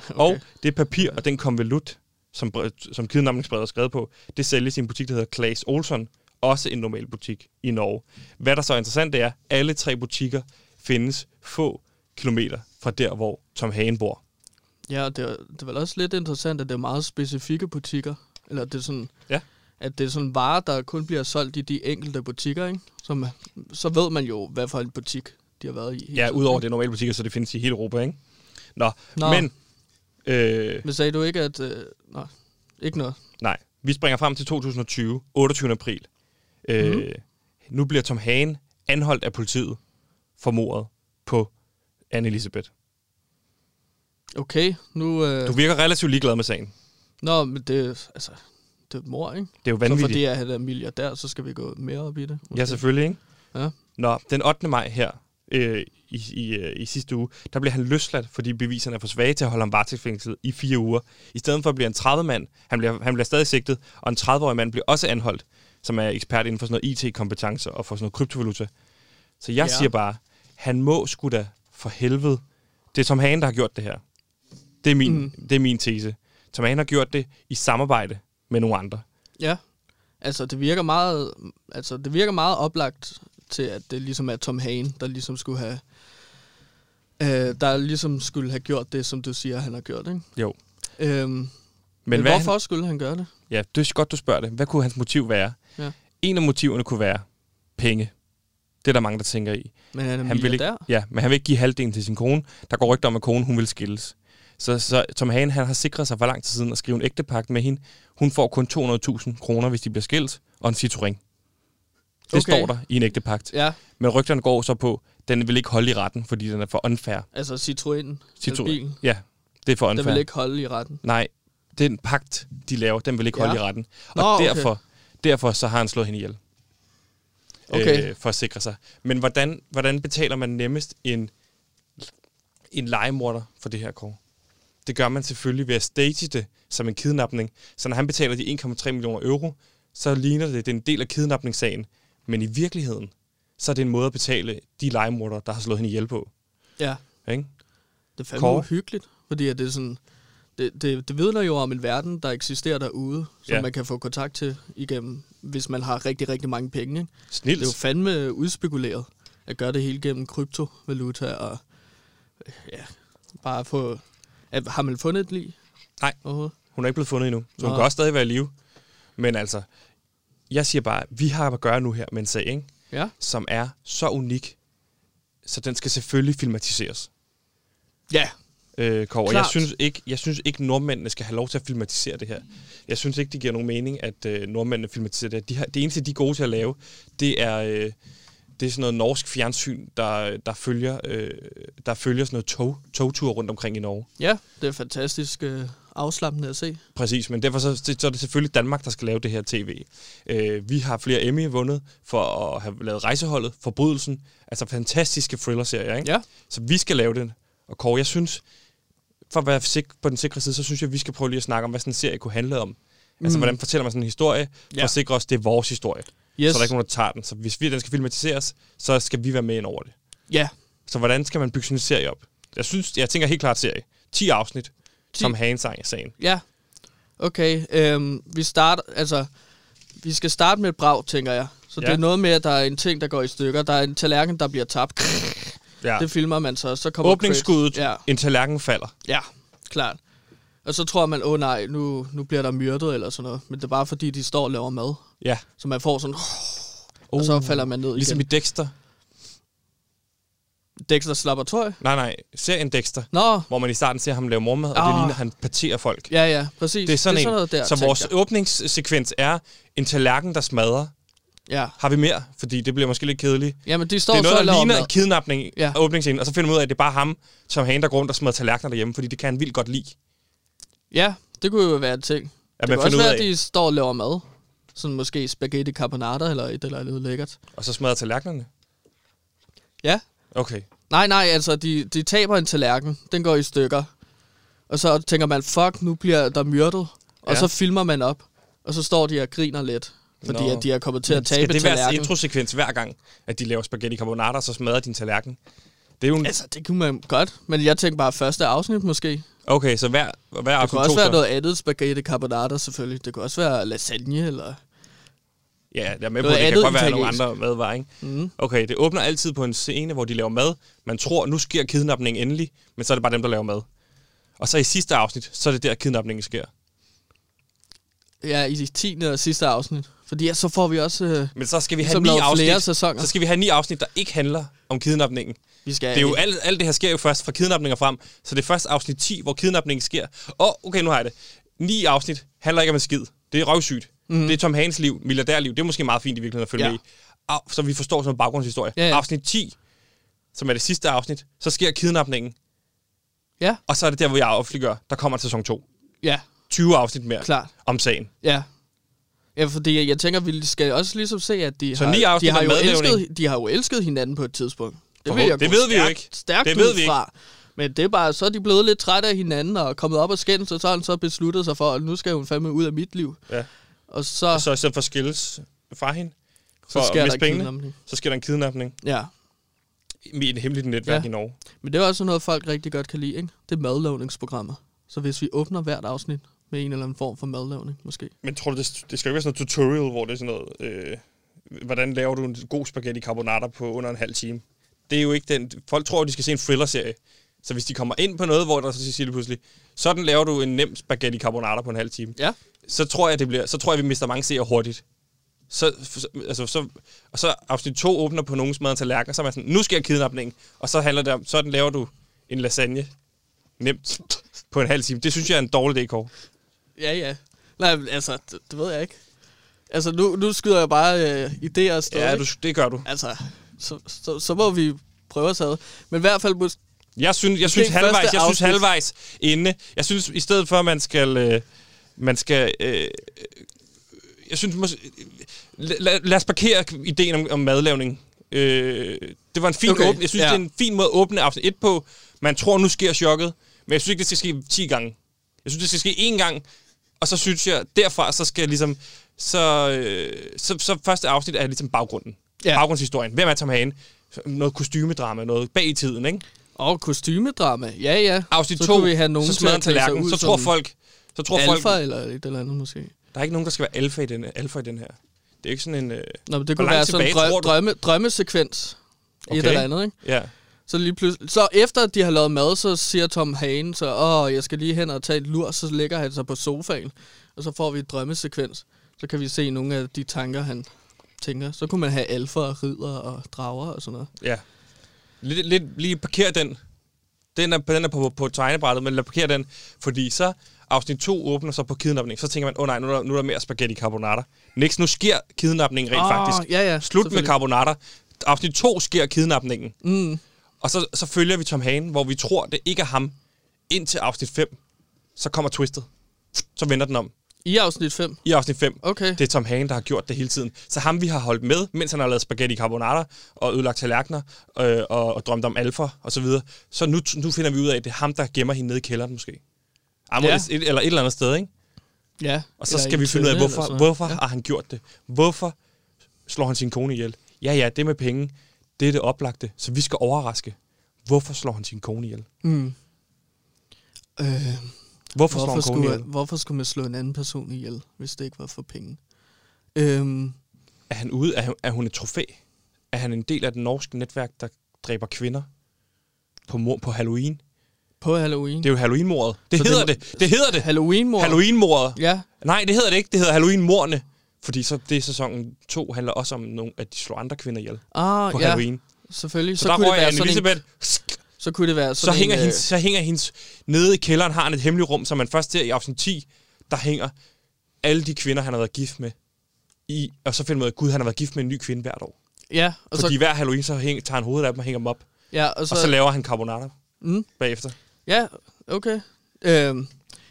Speaker 1: Okay. Og det papir og den konvolut, som, bre- som kidnapningsbrevet er skrevet på, det sælges i en butik, der hedder Claes Olsson, også en normal butik i Norge. Hvad der så er interessant, det er, at alle tre butikker findes få kilometer fra der, hvor Tom Hagen bor.
Speaker 2: Ja, og det er, det er vel også lidt interessant, at det er meget specifikke butikker. Eller det er sådan,
Speaker 1: Ja.
Speaker 2: at det er sådan varer, der kun bliver solgt i de enkelte butikker, ikke? Som, så ved man jo, hvad for en butik de har været i. hele
Speaker 1: Ja,
Speaker 2: tiden,
Speaker 1: udover
Speaker 2: ikke?
Speaker 1: det er normale butikker, så det findes i hele Europa, ikke? Nå,
Speaker 2: Nå.
Speaker 1: Nå. men... Øh,
Speaker 2: Men sagde du ikke, at... Øh, nej, ikke noget.
Speaker 1: Nej, vi springer frem til 2020, 28. april. Øh, Nu bliver Tom Hagen anholdt af politiet for mordet på Anne-Elisabeth.
Speaker 2: Okay, nu... Øh,
Speaker 1: Du virker relativt ligeglad med sagen.
Speaker 2: Nå, men det, altså, det er et mor, ikke?
Speaker 1: Det er jo
Speaker 2: Så
Speaker 1: vanvittigt.
Speaker 2: fordi at han er milliardær, så skal vi gå mere op i det. måske.
Speaker 1: Ja, selvfølgelig, ikke?
Speaker 2: Ja.
Speaker 1: Nå, den 8. maj her øh, i, i, øh, i sidste uge, der blev han løsladt, fordi beviserne er for svage til at holde ham varetægtsfængslet i fire uger. I stedet for at blive en 30-mand, han bliver, han bliver stadig sigtet, og en 30-årig mand bliver også anholdt, som er ekspert inden for sådan noget IT-kompetencer og for sådan noget kryptovaluta. Så jeg
Speaker 2: Ja.
Speaker 1: ja. siger bare, han må sgu da for helvede Det er Tom Hagen, der har gjort det her. Det er min,
Speaker 2: Mhm.
Speaker 1: mm. det er min tese. Tom Hagen har gjort det i samarbejde med nogle andre.
Speaker 2: Ja. Altså, det virker meget, altså, det virker meget oplagt til, at det ligesom er Tom Hagen, der ligesom skulle have... Øh, der ligesom skulle have gjort det, som du siger, han har gjort, ikke?
Speaker 1: Jo.
Speaker 2: Øhm, men
Speaker 1: Men,
Speaker 2: men
Speaker 1: hvad
Speaker 2: hvorfor han... skulle han gøre det?
Speaker 1: Han, ja, det er godt, du spørger det. Hvad kunne hans motiv være?
Speaker 2: Ja.
Speaker 1: En af motiverne kunne være penge. Det er der mange, der tænker i.
Speaker 2: Men han er
Speaker 1: Han vil ikke,
Speaker 2: milliardær.
Speaker 1: ja, men han vil ikke give halvdelen til sin kone. Der går rygter om, at konen hun vil skilles. Så, så Tom Hagen han har sikret sig for lang tid siden at skrive en ægtepagt med hende. Hun får kun 200.000 kroner, hvis de bliver skilt, og en Citroën. Det
Speaker 2: Okay.
Speaker 1: okay. står der i en ægtepagt.
Speaker 2: Ja,
Speaker 1: Men rygterne går så på, den vil ikke holde i retten, fordi den er for unfair.
Speaker 2: altså Citroën.
Speaker 1: Citroën.
Speaker 2: Bilen,
Speaker 1: Ja, det er for
Speaker 2: der
Speaker 1: unfair.
Speaker 2: vil ikke holde i retten.
Speaker 1: Nej, den pagt, de laver, den vil ikke
Speaker 2: Ja.
Speaker 1: holde i retten. Og
Speaker 2: Nå, okay.
Speaker 1: derfor, derfor så har han slået hende ihjel. Øh,
Speaker 2: Okay.
Speaker 1: for at sikre sig. Men hvordan, hvordan betaler man nemmest en, en legemorder for det her kår? Det gør man selvfølgelig ved at stage det som en kidnapning. Så når han betaler de 1,3 millioner euro, så ligner det, at det er en del af kidnapningssagen. Men i virkeligheden, så er det en måde at betale de legemordere, der har slået hende ihjel på.
Speaker 2: Ja.
Speaker 1: Ikke?
Speaker 2: Det er fandme
Speaker 1: Kåre?
Speaker 2: uhyggeligt, fordi at det er sådan... Det, det, det vidner jo om en verden, der eksisterer derude, som
Speaker 1: Ja.
Speaker 2: man kan få kontakt til igennem, hvis man har rigtig, rigtig mange penge. Ikke?
Speaker 1: Snilt.
Speaker 2: Det er jo fandme udspekuleret at gøre det hele gennem kryptovaluta og øh, ja, bare få... At, har man fundet et lig?
Speaker 1: Nej.
Speaker 2: overhovedet?
Speaker 1: Hun er ikke blevet fundet endnu, så hun
Speaker 2: Nå.
Speaker 1: kan også stadig være i live. Men altså, jeg siger bare, vi har at gøre nu her med en sag, ikke?
Speaker 2: Ja.
Speaker 1: som er så unik, så den skal selvfølgelig filmatiseres.
Speaker 2: Ja.
Speaker 1: Øh, Kåre.
Speaker 2: Klart.
Speaker 1: Jeg, synes ikke, jeg synes ikke, nordmændene skal have lov til at filmatisere det her. Jeg synes ikke, det giver nogen mening, at øh, nordmændene filmatiserer det her. De har, det eneste, de er gode til at lave, det er, øh, det er sådan noget norsk fjernsyn, der, der, følger, øh, der følger sådan noget tog, togtur rundt omkring i Norge.
Speaker 2: Ja, det er fantastisk øh, afslappende at se.
Speaker 1: Præcis, men derfor så, så er det selvfølgelig Danmark, der skal lave det her tv. Øh, vi har flere Emmy vundet for at have lavet Rejseholdet, Forbrydelsen, altså fantastiske thriller-serier, ikke?
Speaker 2: Ja.
Speaker 1: Så vi skal lave den. Og Kåre, jeg synes, for at være sik- på den sikre side, så synes jeg, vi skal prøve lige at snakke om, hvad sådan en serie kunne handle om. Altså,
Speaker 2: Mm.
Speaker 1: hvordan fortæller man sådan en historie, for
Speaker 2: Ja.
Speaker 1: at sikre os, det er vores historie.
Speaker 2: Yes.
Speaker 1: Så der er ikke nogen, der tager den. Så hvis vi, den skal filmatiseres, så skal vi være med ind over det.
Speaker 2: Ja,
Speaker 1: Så hvordan skal man bygge sådan en serie op? Jeg synes, jeg tænker helt klart serie. 10 afsnit,
Speaker 2: 10.
Speaker 1: som Hagen-sagen.
Speaker 2: Ja. Okay, øhm, vi starter, altså, vi skal starte med et brag, tænker jeg. Så ja. det
Speaker 1: Ja.
Speaker 2: er noget med, at der er en ting, der går i stykker. Der er en tallerken, der bliver tabt.
Speaker 1: Ja.
Speaker 2: Ja. Det filmer man så, så kommer
Speaker 1: Åbningsskuddet,
Speaker 2: credits. Ja,
Speaker 1: ja. en tallerken falder.
Speaker 2: ja, klart. Og så tror man, åh oh, nej, nu, nu bliver der myrdet eller sådan noget. Men det er bare fordi, de står og laver mad.
Speaker 1: Ja.
Speaker 2: Så man får sådan, oh, og så falder man ned
Speaker 1: Ligesom
Speaker 2: ligesom
Speaker 1: i
Speaker 2: igen.
Speaker 1: Dexter.
Speaker 2: Dexter slapper tøj.
Speaker 1: Nej, nej. Serien Dexter,
Speaker 2: Nå,
Speaker 1: hvor man i starten ser ham lave mormad, og det
Speaker 2: Ah.
Speaker 1: ligner, at han parterer folk.
Speaker 2: ja, ja, præcis.
Speaker 1: Det er sådan,
Speaker 2: det er sådan
Speaker 1: en.
Speaker 2: noget der,
Speaker 1: så
Speaker 2: tænker
Speaker 1: vores
Speaker 2: jeg.
Speaker 1: åbningssekvens er en tallerken, der smadrer.
Speaker 2: Ja,
Speaker 1: Har vi mere? Fordi det bliver måske lidt kedeligt.
Speaker 2: jamen de står
Speaker 1: Det er
Speaker 2: så og
Speaker 1: noget,
Speaker 2: laver
Speaker 1: der ligner
Speaker 2: mad.
Speaker 1: en kidnapning
Speaker 2: Ja.
Speaker 1: ja. af åbningsscenen, og så finder man ud af, at det er bare ham, som han der går rundt og smadrer tallerkener derhjemme, fordi det kan han vildt godt lide.
Speaker 2: Ja, det kunne jo være en ting.
Speaker 1: At
Speaker 2: det
Speaker 1: man
Speaker 2: kan
Speaker 1: finder
Speaker 2: også
Speaker 1: ud
Speaker 2: være,
Speaker 1: af,
Speaker 2: at de står og laver mad. Sådan måske spaghetti carbonara eller et eller andet lækkert.
Speaker 1: og så smadrer tallerkenerne.
Speaker 2: Ja.
Speaker 1: Okay.
Speaker 2: Nej, nej, altså, de, de taber en tallerken. Den går i stykker. Og så tænker man, fuck, nu bliver der myrdet. Og
Speaker 1: Ja.
Speaker 2: så filmer man op. Og så står de og griner lidt. Fordi
Speaker 1: Nå.
Speaker 2: at de er kommet til at
Speaker 1: Skal
Speaker 2: tabe
Speaker 1: det være
Speaker 2: tallerken.
Speaker 1: introsekvens hver gang, at de laver spaghetti carbonara, og så smadrer din tallerken? Det er jo en...
Speaker 2: Altså, det kunne man godt. Men jeg tænkte bare første afsnit måske. Det
Speaker 1: Okay, så hver, hver aften
Speaker 2: kunne også
Speaker 1: to
Speaker 2: være
Speaker 1: så.
Speaker 2: noget andet spaghetti carbonara selvfølgelig. Det kunne også være lasagne eller...
Speaker 1: Ja, jeg er med på,
Speaker 2: Noget
Speaker 1: at det kan
Speaker 2: andet
Speaker 1: godt være nogle
Speaker 2: italiensk.
Speaker 1: andre madvarer, ikke? Mm. Okay, det åbner altid på en scene, hvor de laver mad. Man tror, nu sker kidnapningen endelig, men så er det bare dem, der laver mad. Og så i sidste afsnit, så er det der, kidnapningen sker.
Speaker 2: Ja, i 10. og sidste afsnit. Fordi ja, så får vi også... Øh,
Speaker 1: Men så skal vi
Speaker 2: Så
Speaker 1: have ni
Speaker 2: bliver der flere
Speaker 1: afsnit,
Speaker 2: sæsoner.
Speaker 1: så skal vi have ni afsnit, der ikke handler om kidnapningen.
Speaker 2: vi skal
Speaker 1: Det er jo alt, alt det her sker jo først fra kidnapninger frem, så det er først afsnit 10, hvor kidnapningen sker. Og okay, nu har jeg det. Ni afsnit handler ikke om en skid. Det er røvsygt. Mm. Det er Tom Hagens liv, milliardærliv. Det er måske meget fint i virkeligheden at følge
Speaker 2: Mhm. Ja.
Speaker 1: ja. med i. Af, så vi forstår som en baggrundshistorie.
Speaker 2: Ja, ja.
Speaker 1: Afsnit 10, som er det sidste afsnit, så sker kidnapningen.
Speaker 2: Ja,
Speaker 1: Og så er det der, hvor jeg offentliggør, der kommer en sæson 2.
Speaker 2: ja,
Speaker 1: 20 afsnit mere
Speaker 2: klart.
Speaker 1: om sagen.
Speaker 2: Ja. Ja, fordi jeg tænker, vi skal også ligesom se, at de,
Speaker 1: Så
Speaker 2: har,
Speaker 1: ni
Speaker 2: de,
Speaker 1: afsnit
Speaker 2: har
Speaker 1: om
Speaker 2: jo
Speaker 1: madlavning.
Speaker 2: elsket, de har jo elsket hinanden på et tidspunkt. Det,
Speaker 1: Forhåbentlig.
Speaker 2: jeg
Speaker 1: Det
Speaker 2: gå
Speaker 1: ved vi jo
Speaker 2: stærkt,
Speaker 1: ikke.
Speaker 2: Stærkt
Speaker 1: Det ved
Speaker 2: ud
Speaker 1: vi ikke.
Speaker 2: fra. Men det er bare, så er de blevet lidt trætte af hinanden og kommet op og skændt, så så har han så besluttet sig for, at nu skal hun fandme ud af mit liv.
Speaker 1: Ja.
Speaker 2: Og så, så,
Speaker 1: Så i stedet for at skilles fra hende, for
Speaker 2: så
Speaker 1: så
Speaker 2: sker
Speaker 1: at
Speaker 2: der
Speaker 1: miste pengene,
Speaker 2: kidnapning.
Speaker 1: så sker der en kidnapning.
Speaker 2: Ja,
Speaker 1: i et hemmeligt netværk
Speaker 2: Ja.
Speaker 1: ja. i Norge.
Speaker 2: Men det er også noget, folk rigtig godt kan lide, ikke? Det er madlavningsprogrammer. Så hvis vi åbner hvert afsnit med en eller anden form for madlavning, måske.
Speaker 1: Men tror du, det, det skal jo ikke være sådan noget tutorial, hvor det er sådan noget, øh, hvordan laver du en god spaghetti carbonara på under en halv time? Det er jo ikke den... Folk tror, de skal se en thriller-serie. Så hvis de kommer ind på noget, hvor der så siger det pludselig, sådan laver du en nem spaghetti carbonara på en halv time.
Speaker 2: Ja.
Speaker 1: Så tror jeg, det bliver, så tror jeg vi mister mange seere hurtigt. Så, så- altså, så, og så afsnit 2 åbner på nogens mad og tallerken, og så er man sådan, nu sker kidnapningen. Og så handler det om, sådan laver du en lasagne nemt på en halv time. Det synes jeg er en dårlig DK.
Speaker 2: Ja, ja. Nej, men altså, det, det ved jeg ikke. Altså, nu, nu skyder jeg bare øh, idéer afsted,
Speaker 1: Ja,
Speaker 2: ikke?
Speaker 1: du, det gør du.
Speaker 2: Altså, så, så, så må vi prøve os ad. Men i hvert fald, mås-
Speaker 1: Jeg synes, jeg synes
Speaker 2: ikke første
Speaker 1: halvvejs, jeg synes
Speaker 2: afsnit.
Speaker 1: halvvejs inde. Jeg synes, i stedet for, at man skal... Øh, man skal øh, øh, jeg synes, mås- la- la- lad os parkere ideen om, om madlavning. Øh, det var en fin
Speaker 2: Okay,
Speaker 1: okay, åbne, Jeg synes,
Speaker 2: ja.
Speaker 1: ja. det er en fin måde at åbne afsnit 1 på. Man tror, nu sker chokket. Men jeg synes ikke, det skal ske 10 gange. Jeg synes, det skal ske én gang. Og så synes jeg, derfra, så skal jeg ligesom... Så, øh, så, så første afsnit er ligesom baggrunden.
Speaker 2: Ja.
Speaker 1: Ja. Baggrundshistorien. Hvem er Tom Hagen? Noget kostymedrama, noget bag i tiden, ikke?
Speaker 2: og kostymedrama. Ja, ja.
Speaker 1: afsnit
Speaker 2: så
Speaker 1: 2,
Speaker 2: kunne vi have nogen
Speaker 1: så
Speaker 2: til
Speaker 1: smadrer
Speaker 2: at
Speaker 1: en
Speaker 2: klæde sig
Speaker 1: tallerken,
Speaker 2: ud
Speaker 1: så
Speaker 2: som
Speaker 1: tror folk, så tror folk,
Speaker 2: Alfa eller et eller andet, måske.
Speaker 1: der er ikke nogen, der skal være alfa i den, alfa i den her. Det er jo ikke sådan en... Øh,
Speaker 2: Nå, men det
Speaker 1: Hvor
Speaker 2: kunne
Speaker 1: langt
Speaker 2: være sådan en
Speaker 1: tilbage tror
Speaker 2: drø-
Speaker 1: du?
Speaker 2: drømme, drømmesekvens. Okay. Et
Speaker 1: Okay.
Speaker 2: eller andet, ikke?
Speaker 1: ja.
Speaker 2: Så lige pludselig, så efter at de har lavet mad, så siger Tom Hagen så, åh, jeg skal lige hen og tage et lur, så lægger han sig på sofaen, og så får vi et drømmesekvens. Så kan vi se nogle af de tanker, han tænker. Så kunne man have alfa og ridder og drager og sådan noget.
Speaker 1: ja. Lidt, lidt lige parker den. Den er, den er på, på tegnebrættet, men lad parkere den, fordi så afsnit 2 åbner så på kidnapning. Så tænker man, åh oh, nej, nu er, der, nu er der mere spaghetti carbonara. Niks, nu sker kidnapningen rent
Speaker 2: Åh,
Speaker 1: oh, faktisk.
Speaker 2: ja, ja,
Speaker 1: Slut med
Speaker 2: selvfølgelig.
Speaker 1: carbonara. Afsnit 2 sker kidnapningen.
Speaker 2: Mm.
Speaker 1: Og så, så følger vi Tom Hagen, hvor vi tror, det ikke er ham. Indtil afsnit 5, så kommer twistet. Så vender den om.
Speaker 2: I afsnit 5.
Speaker 1: i afsnit 5.
Speaker 2: Okay.
Speaker 1: Det er Tom Hagen, der har gjort det hele tiden. Så ham, vi har holdt med, mens han har lavet spaghetti carbonara og ødelagt tallerkener øh, og, og drømt om alfa og så videre. Så nu, nu finder vi ud af, at det er ham, der gemmer hende nede i kælderen måske. Amor,
Speaker 2: Ja.
Speaker 1: ja. et, eller et eller andet sted, ikke?
Speaker 2: Ja.
Speaker 1: Og så
Speaker 2: eller
Speaker 1: skal
Speaker 2: i
Speaker 1: vi finde ud af,
Speaker 2: tønde eller
Speaker 1: hvorfor,
Speaker 2: sådan
Speaker 1: hvorfor
Speaker 2: noget.
Speaker 1: ja. har han gjort det? Hvorfor slår han sin kone ihjel? Ja, ja, det med penge, det er det oplagte, så vi skal overraske. Hvorfor slår han sin kone ihjel?
Speaker 2: Ja. Mm. Øh,
Speaker 1: Hvorfor, hvorfor slår han kone
Speaker 2: hvorfor, skulle,
Speaker 1: ihjel?
Speaker 2: hvorfor skulle man slå en anden person ihjel, hvis det ikke var for penge? Øhm,
Speaker 1: Er han ude? Er, hun- er hun et trofæ? Er han en del af det norske netværk, der dræber kvinder på, mor, på Halloween?
Speaker 2: på Halloween.
Speaker 1: Det er jo Halloween-mordet. Det
Speaker 2: Så det
Speaker 1: hedder
Speaker 2: må-
Speaker 1: det. Det, hedder det.
Speaker 2: Halloween-mor.
Speaker 1: Halloween-mordet.
Speaker 2: Ja,
Speaker 1: Nej, det hedder det ikke. Det hedder Halloween-mordene. Fordi så det er sæsonen 2 handler også om, nogle, at de slår andre kvinder ihjel
Speaker 2: ah,
Speaker 1: på
Speaker 2: ja.
Speaker 1: Halloween.
Speaker 2: Selvfølgelig.
Speaker 1: Så,
Speaker 2: Så,
Speaker 1: der
Speaker 2: kunne det
Speaker 1: røg
Speaker 2: være
Speaker 1: Anne
Speaker 2: sådan en,
Speaker 1: Elisabeth.
Speaker 2: så kunne det være
Speaker 1: Så
Speaker 2: sådan
Speaker 1: hænger,
Speaker 2: en, øh,
Speaker 1: hendes, så hænger hendes... Nede i kælderen har han et hemmeligt rum, som man først ser i afsnit 10. Der hænger alle de kvinder, han har været gift med. I, og så finder man ud af, at gud, han har været gift med en ny kvinde hvert år.
Speaker 2: Øh, ja, og
Speaker 1: Og Fordi
Speaker 2: så,
Speaker 1: så, hver Halloween, så hæng, tager han hovedet af dem og hænger dem op.
Speaker 2: ja, og så,
Speaker 1: Og så laver han carbonara
Speaker 2: mm,
Speaker 1: bagefter.
Speaker 2: ja, okay. Øhm,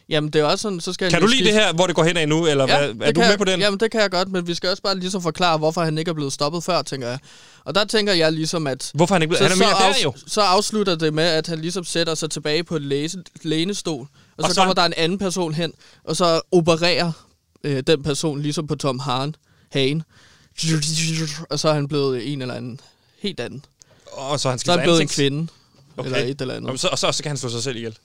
Speaker 2: jamen, det er også sådan, så skal
Speaker 1: Kan
Speaker 2: jeg
Speaker 1: du
Speaker 2: lige
Speaker 1: lide det
Speaker 2: skifte-
Speaker 1: her, hvor det går hen af nu? Eller ja,
Speaker 2: Ja,
Speaker 1: hvad,
Speaker 2: det
Speaker 1: er du med
Speaker 2: kan jeg,
Speaker 1: på den?
Speaker 2: Jamen, det kan jeg godt, men vi skal også bare ligesom forklare, hvorfor han ikke er blevet stoppet før, tænker jeg. Og der tænker jeg ligesom, at...
Speaker 1: Hvorfor er han ikke blevet...
Speaker 2: Så,
Speaker 1: han er
Speaker 2: så,
Speaker 1: mere der jo.
Speaker 2: af, så afslutter det med, at han ligesom sætter sig tilbage på et læse, lænestol, og, og så,
Speaker 1: så-
Speaker 2: så kommer der en anden person hen, og så opererer øh, den person ligesom på Tom Hagen, Hagen. Og så er han blevet en eller anden helt anden.
Speaker 1: Og så han skal
Speaker 2: Så er han
Speaker 1: så
Speaker 2: blevet en
Speaker 1: ansigt-
Speaker 2: kvinde, okay.
Speaker 1: Okay.
Speaker 2: eller et eller andet.
Speaker 1: Jamen, så, og så, så kan han slå sig selv ihjel.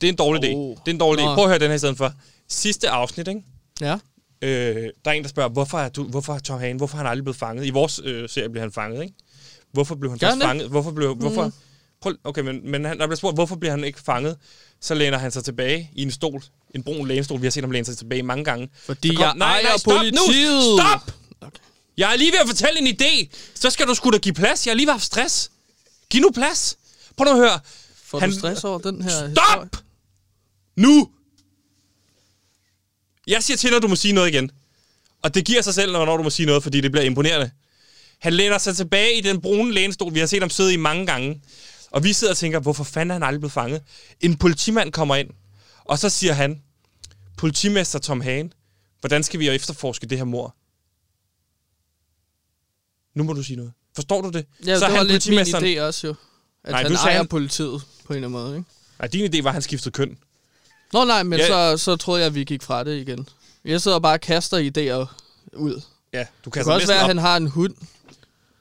Speaker 1: Det er en dårlig idé.
Speaker 2: Oh.
Speaker 1: Det er en dårlig idé.
Speaker 2: Nå.
Speaker 1: Prøv at høre den her i stedet for. Sidste afsnit, ikke?
Speaker 2: Ja,
Speaker 1: Øh, der er en, der spørger, hvorfor er, du, hvorfor er Tom Hagen, hvorfor er han aldrig blevet fanget? I vores øh, serie blev han fanget, ikke? Hvorfor blev han
Speaker 2: Gør han
Speaker 1: først
Speaker 2: det? Mm.
Speaker 1: fanget? Hvorfor blev... Hvorfor, prøv, okay, men, men han, der bliver spurgt, hvorfor bliver han ikke fanget? Så læner han sig tilbage i en stol. En brun lænestol. Vi har set ham læne sig tilbage mange gange.
Speaker 2: fordi
Speaker 1: Så
Speaker 2: jeg
Speaker 1: nej,
Speaker 2: ejer
Speaker 1: nej, stop
Speaker 2: politiet.
Speaker 1: nu! Stop!
Speaker 2: Okay.
Speaker 1: Jeg er lige ved at fortælle en idé. Så skal du sgu da give plads. Jeg har lige haft stress. Giv nu plads. Prøv nu at høre.
Speaker 2: Får
Speaker 1: Han-
Speaker 2: du stress over den her historie?
Speaker 1: Stop! Nu! Jeg siger til, når du må sige noget igen. Og det giver sig selv, når hvornår du må sige noget, fordi det bliver imponerende. Han læner sig tilbage i den brune lænestol, vi har set ham sidde i mange gange. Og vi sidder og tænker, hvorfor fanden er han aldrig blevet fanget? En politimand kommer ind, og så siger han, politimester Tom Hagen, hvordan skal vi efterforske det her mor? Nu må du sige noget. Forstår du det?
Speaker 2: Ja,
Speaker 1: er
Speaker 2: det var
Speaker 1: han
Speaker 2: lidt min
Speaker 1: politimesteren-
Speaker 2: idé også jo. At
Speaker 1: Nej,
Speaker 2: nej, han
Speaker 1: du
Speaker 2: ejer
Speaker 1: sagde
Speaker 2: han...
Speaker 1: han-
Speaker 2: politiet på en eller anden måde, ikke?
Speaker 1: Nej, din idé var, at han skiftede køn.
Speaker 2: Nå nej, men
Speaker 1: Ja.
Speaker 2: så, så troede jeg, at vi gik fra det igen. Jeg sidder og bare og kaster idéer ud.
Speaker 1: Ja, du kan
Speaker 2: Det kan også være, at
Speaker 1: altså op.
Speaker 2: han har en hund.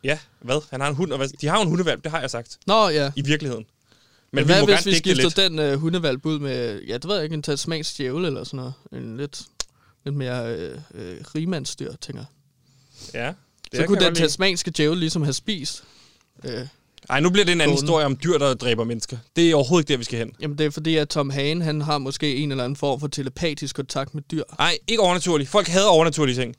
Speaker 1: Ja, hvad? Han har en hund, og hvad? De har jo en hundevalp, det har jeg sagt.
Speaker 2: Nå ja.
Speaker 1: I virkeligheden.
Speaker 2: Men hvad
Speaker 1: må
Speaker 2: hvis
Speaker 1: gerne
Speaker 2: vi
Speaker 1: digte
Speaker 2: skifter den øh, hundevalp ud med, ja, det ved jeg ikke, en tasmansk djævel eller sådan noget. En lidt, lidt mere øh, øh, rigmandsdyr, tænker jeg.
Speaker 1: Ja. Det
Speaker 2: Så
Speaker 1: kan
Speaker 2: kunne
Speaker 1: jeg
Speaker 2: den
Speaker 1: godt lide.
Speaker 2: tasmanske djævel ligesom have spist. Øh,
Speaker 1: Ej, nu bliver det en anden
Speaker 2: Gående.
Speaker 1: historie om dyr, der dræber mennesker. Det er overhovedet ikke der, vi skal hen.
Speaker 2: jamen det er fordi, at Tom Hagen, han har måske en eller anden form for telepatisk kontakt med dyr.
Speaker 1: Nej, ikke overnaturligt. Folk hader overnaturlige ting.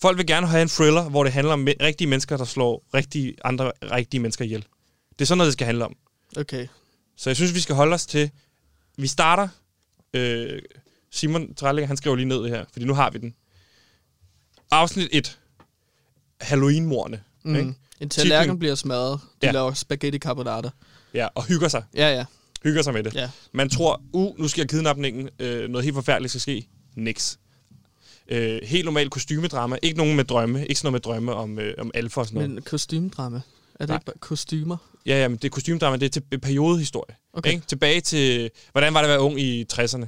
Speaker 1: Folk vil gerne have en thriller, hvor det handler om me- rigtige mennesker, der slår rigtige, andre rigtige mennesker ihjel. Det er sådan noget, det skal handle om.
Speaker 2: Okay.
Speaker 1: Så jeg synes, vi skal holde os til... Vi starter... Øh, Simon Trællinger, han skriver lige ned det her, fordi nu har vi den. Afsnit 1. Halloween-morne. Mm. Ikke?
Speaker 2: Mm. En tallerken
Speaker 1: Titlen-
Speaker 2: bliver smadret. De
Speaker 1: Ja.
Speaker 2: ja. laver spaghetti carbonara.
Speaker 1: Ja, og hygger sig.
Speaker 2: Ja, ja.
Speaker 1: Hygger sig med det.
Speaker 2: Ja.
Speaker 1: Man tror, uh, nu sker kidnapningen. Øh, noget helt forfærdeligt skal ske. Niks. Øh, helt normal kostymedrama. Ikke nogen med drømme. Ikke sådan noget med drømme om, øh, om alfa og sådan noget.
Speaker 2: Men kostymedrama. Er det
Speaker 1: Nej.
Speaker 2: ikke bare kostymer?
Speaker 1: Ja, ja, men det er kostymedrama, det er til øh, periodehistorie.
Speaker 2: Okay.
Speaker 1: Ikke? Tilbage til, hvordan var det at være ung i 60'erne?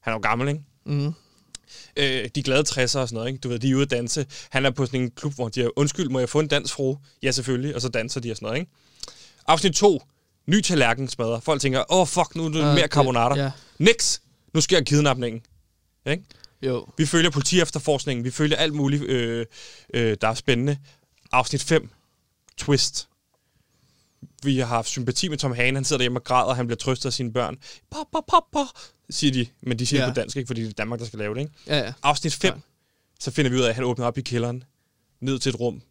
Speaker 1: Han er jo gammel, ikke?
Speaker 2: Mm.
Speaker 1: Øh, de glade 60'ere og sådan noget, ikke? Du ved, de er ude at danse. Han er på sådan en klub, hvor de er, undskyld, må jeg få en dans, fru? Ja, selvfølgelig. Og så danser de og sådan noget, ikke? Afsnit 2. Ny tallerken smadrer. Folk tænker, åh, oh, fuck, nu er det
Speaker 2: Ah,
Speaker 1: mere
Speaker 2: det-
Speaker 1: carbonater.
Speaker 2: ja.
Speaker 1: Niks! Nu sker kidnapningen. Ikke?
Speaker 2: Jo.
Speaker 1: Vi følger politiefterforskningen. Vi følger alt muligt, øh, øh, der er spændende. Afsnit 5. Twist. Vi har haft sympati med Tom Hagen. Han sidder derhjemme og græder, og han bliver trøstet af sine børn. Pop, pop, pop, pop, siger de. Men de siger ja.
Speaker 2: Ja.
Speaker 1: det på dansk, ikke? Fordi det er Danmark, der skal lave det, ikke?
Speaker 2: Ja, ja.
Speaker 1: Afsnit 5.
Speaker 2: Nej.
Speaker 1: Så finder vi ud af, at han åbner op i kælderen. Ned til et rum.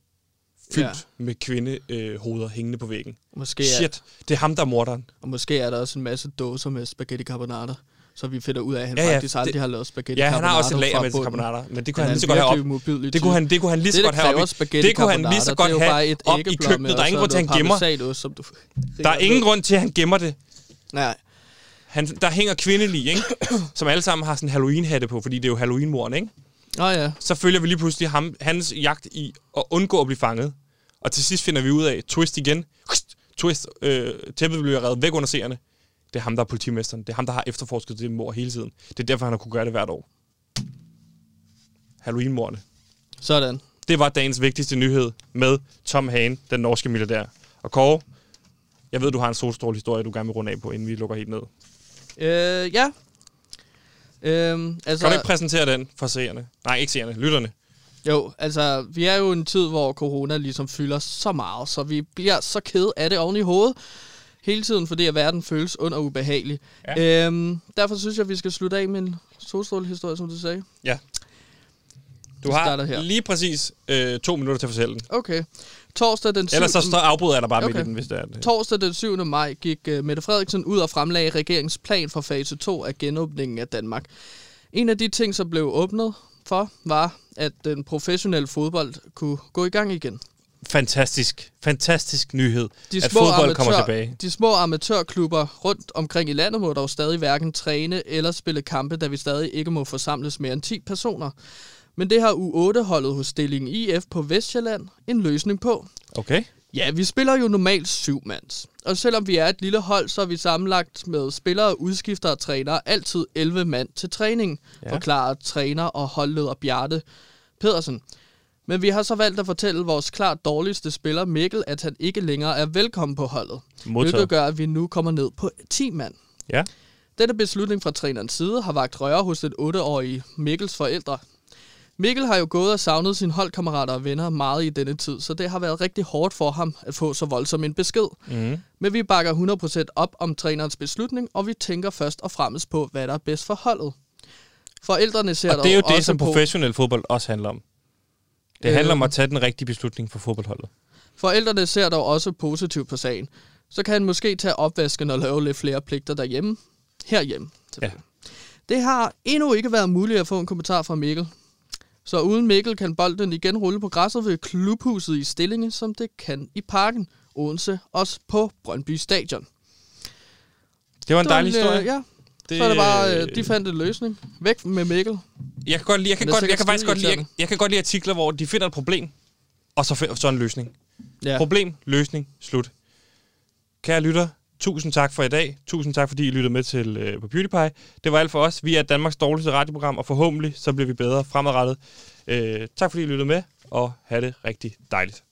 Speaker 1: Fyldt
Speaker 2: Ja.
Speaker 1: med kvindehoveder øh, hoveder hængende på væggen.
Speaker 2: Måske
Speaker 1: Yeah.
Speaker 2: er,
Speaker 1: Shit, det er ham, der er morderen.
Speaker 2: og måske er der også en masse dåser med spaghetti carbonara, så vi finder ud af, at han
Speaker 1: Ja,
Speaker 2: ja,
Speaker 1: ja,
Speaker 2: ja, faktisk aldrig
Speaker 1: det-
Speaker 2: det, har lavet spaghetti
Speaker 1: Ja, han
Speaker 2: carbonara
Speaker 1: har også et lager
Speaker 2: fra
Speaker 1: med
Speaker 2: bunden.
Speaker 1: karbonater, men det kunne
Speaker 2: Han
Speaker 1: han
Speaker 2: er
Speaker 1: lige så godt have op.
Speaker 2: virkelig umobil
Speaker 1: Det kunne, han, det kunne han lige så
Speaker 2: det,
Speaker 1: godt have op i-
Speaker 2: spaghetti
Speaker 1: Det kunne han lige så godt have op i køkkenet. Der er ingen grund til, at han gemmer.
Speaker 2: som du
Speaker 1: Der er ingen grund til, at han gemmer det.
Speaker 2: Nej,
Speaker 1: Han, der hænger kvindelige, ikke? som alle sammen har sådan en Halloween-hatte på, fordi det er jo Halloween-moren, ikke?
Speaker 2: Nå ja,
Speaker 1: Så følger vi lige pludselig ham, hans jagt i at undgå at blive fanget. Og til sidst finder vi ud af, twist igen, Hust! twist, øh, tæppet bliver reddet væk under seerne. Det er ham, der er politimesteren. Det er ham, der har efterforsket det mor hele tiden. Det er derfor, han har kunne gøre det hvert år. Halloween-morne.
Speaker 2: sådan.
Speaker 1: Det var dagens vigtigste nyhed med Tom Hagen, den norske milliardær. Og Kåre, jeg ved, du har en solstrål historie, du gerne vil runde af på, inden vi lukker helt ned.
Speaker 2: Øh, ja. Øhm, altså,
Speaker 1: Kan du ikke præsentere den for seerne? Nej, ikke seerne, lytterne.
Speaker 2: Jo, altså, vi er jo i en tid, hvor corona ligesom fylder så meget, så vi bliver så ked af det oven i hovedet hele tiden, fordi at verden føles under ubehagelig. Ja. Øhm, derfor synes jeg, at vi skal slutte af med en solstrålehistorie, som du sagde.
Speaker 1: Ja. Du
Speaker 2: Vi
Speaker 1: har
Speaker 2: starter her.
Speaker 1: lige præcis øh, to minutter til at fortælle den.
Speaker 2: Okay. Torsdag den 7.
Speaker 1: Ellers så står afbryder jeg dig bare okay. midt
Speaker 2: Okay.
Speaker 1: i den, hvis det er det.
Speaker 2: Torsdag den 7. maj gik uh, Mette Frederiksen ud og fremlagde regeringens plan for fase 2 af genåbningen af Danmark. En af de ting, som blev åbnet for, var, at den professionelle fodbold kunne gå i gang igen.
Speaker 1: Fantastisk, fantastisk nyhed,
Speaker 2: De
Speaker 1: at
Speaker 2: små,
Speaker 1: fodbold
Speaker 2: amatør,
Speaker 1: kommer tilbage.
Speaker 2: de små amatørklubber rundt omkring i landet må dog stadig hverken træne eller spille kampe, da vi stadig ikke må forsamles mere end 10 personer. Men det har U8-holdet hos stillingen IF på Vestjylland en løsning på.
Speaker 1: Okay.
Speaker 2: Ja, vi spiller jo normalt syv mands. Og selvom vi er et lille hold, så er vi sammenlagt med spillere, udskifter og trænere altid 11 mand til træning,
Speaker 1: Ja.
Speaker 2: ja. forklarer træner og holdleder Bjarte Pedersen. Men vi har så valgt at fortælle vores klart dårligste spiller Mikkel, at han ikke længere er velkommen på holdet.
Speaker 1: Modtaget.
Speaker 2: Hvilket gør, at vi nu kommer ned på 10 mand.
Speaker 1: Ja.
Speaker 2: Denne beslutning fra trænerens side har vagt røre hos den 8-årige Mikkels forældre. Mikkel har jo gået og savnet sine holdkammerater og venner meget i denne tid, så det har været rigtig hårdt for ham at få så voldsom en besked.
Speaker 1: Mm.
Speaker 2: Men vi bakker 100% op om trænerens beslutning, og vi tænker først og fremmest på, hvad der er bedst for holdet. Forældrene ser
Speaker 1: Og det er jo
Speaker 2: dog
Speaker 1: det,
Speaker 2: også
Speaker 1: som
Speaker 2: på,
Speaker 1: professionel fodbold også handler om. Det
Speaker 2: Øh.
Speaker 1: handler om at tage den rigtige beslutning for fodboldholdet.
Speaker 2: Forældrene ser dog også positivt på sagen. Så kan han måske tage opvasken og lave lidt flere pligter derhjemme. Herhjemme. selvfølgelig. Det har endnu ikke været muligt at få en kommentar fra Mikkel. Så uden Mikkel kan bolden igen rulle på græsset ved klubhuset i Stillinge, som det kan i parken, Odense, også på Brøndby Stadion.
Speaker 1: Det var en
Speaker 2: Det var
Speaker 1: dejlig
Speaker 2: øh,
Speaker 1: historie.
Speaker 2: Ja, det... så er det bare, øh, de fandt en løsning. Væk med Mikkel.
Speaker 1: Jeg kan godt lide, jeg kan
Speaker 2: Men det
Speaker 1: godt,
Speaker 2: er
Speaker 1: jeg kan
Speaker 2: sikkert
Speaker 1: faktisk godt lide, jeg,
Speaker 2: skideirriterende.
Speaker 1: jeg kan godt lide artikler, hvor de finder et problem, og så finder så en løsning.
Speaker 2: Ja.
Speaker 1: Problem, løsning, slut. Kære lytter, tusind tak for i dag. Tusind tak, fordi I lyttede med til øh, på PewDiePie. Det var alt for os. Vi er Danmarks dårligste radioprogram, og forhåbentlig så bliver vi bedre fremadrettet. Øh, tak fordi I lyttede med, og have det rigtig dejligt.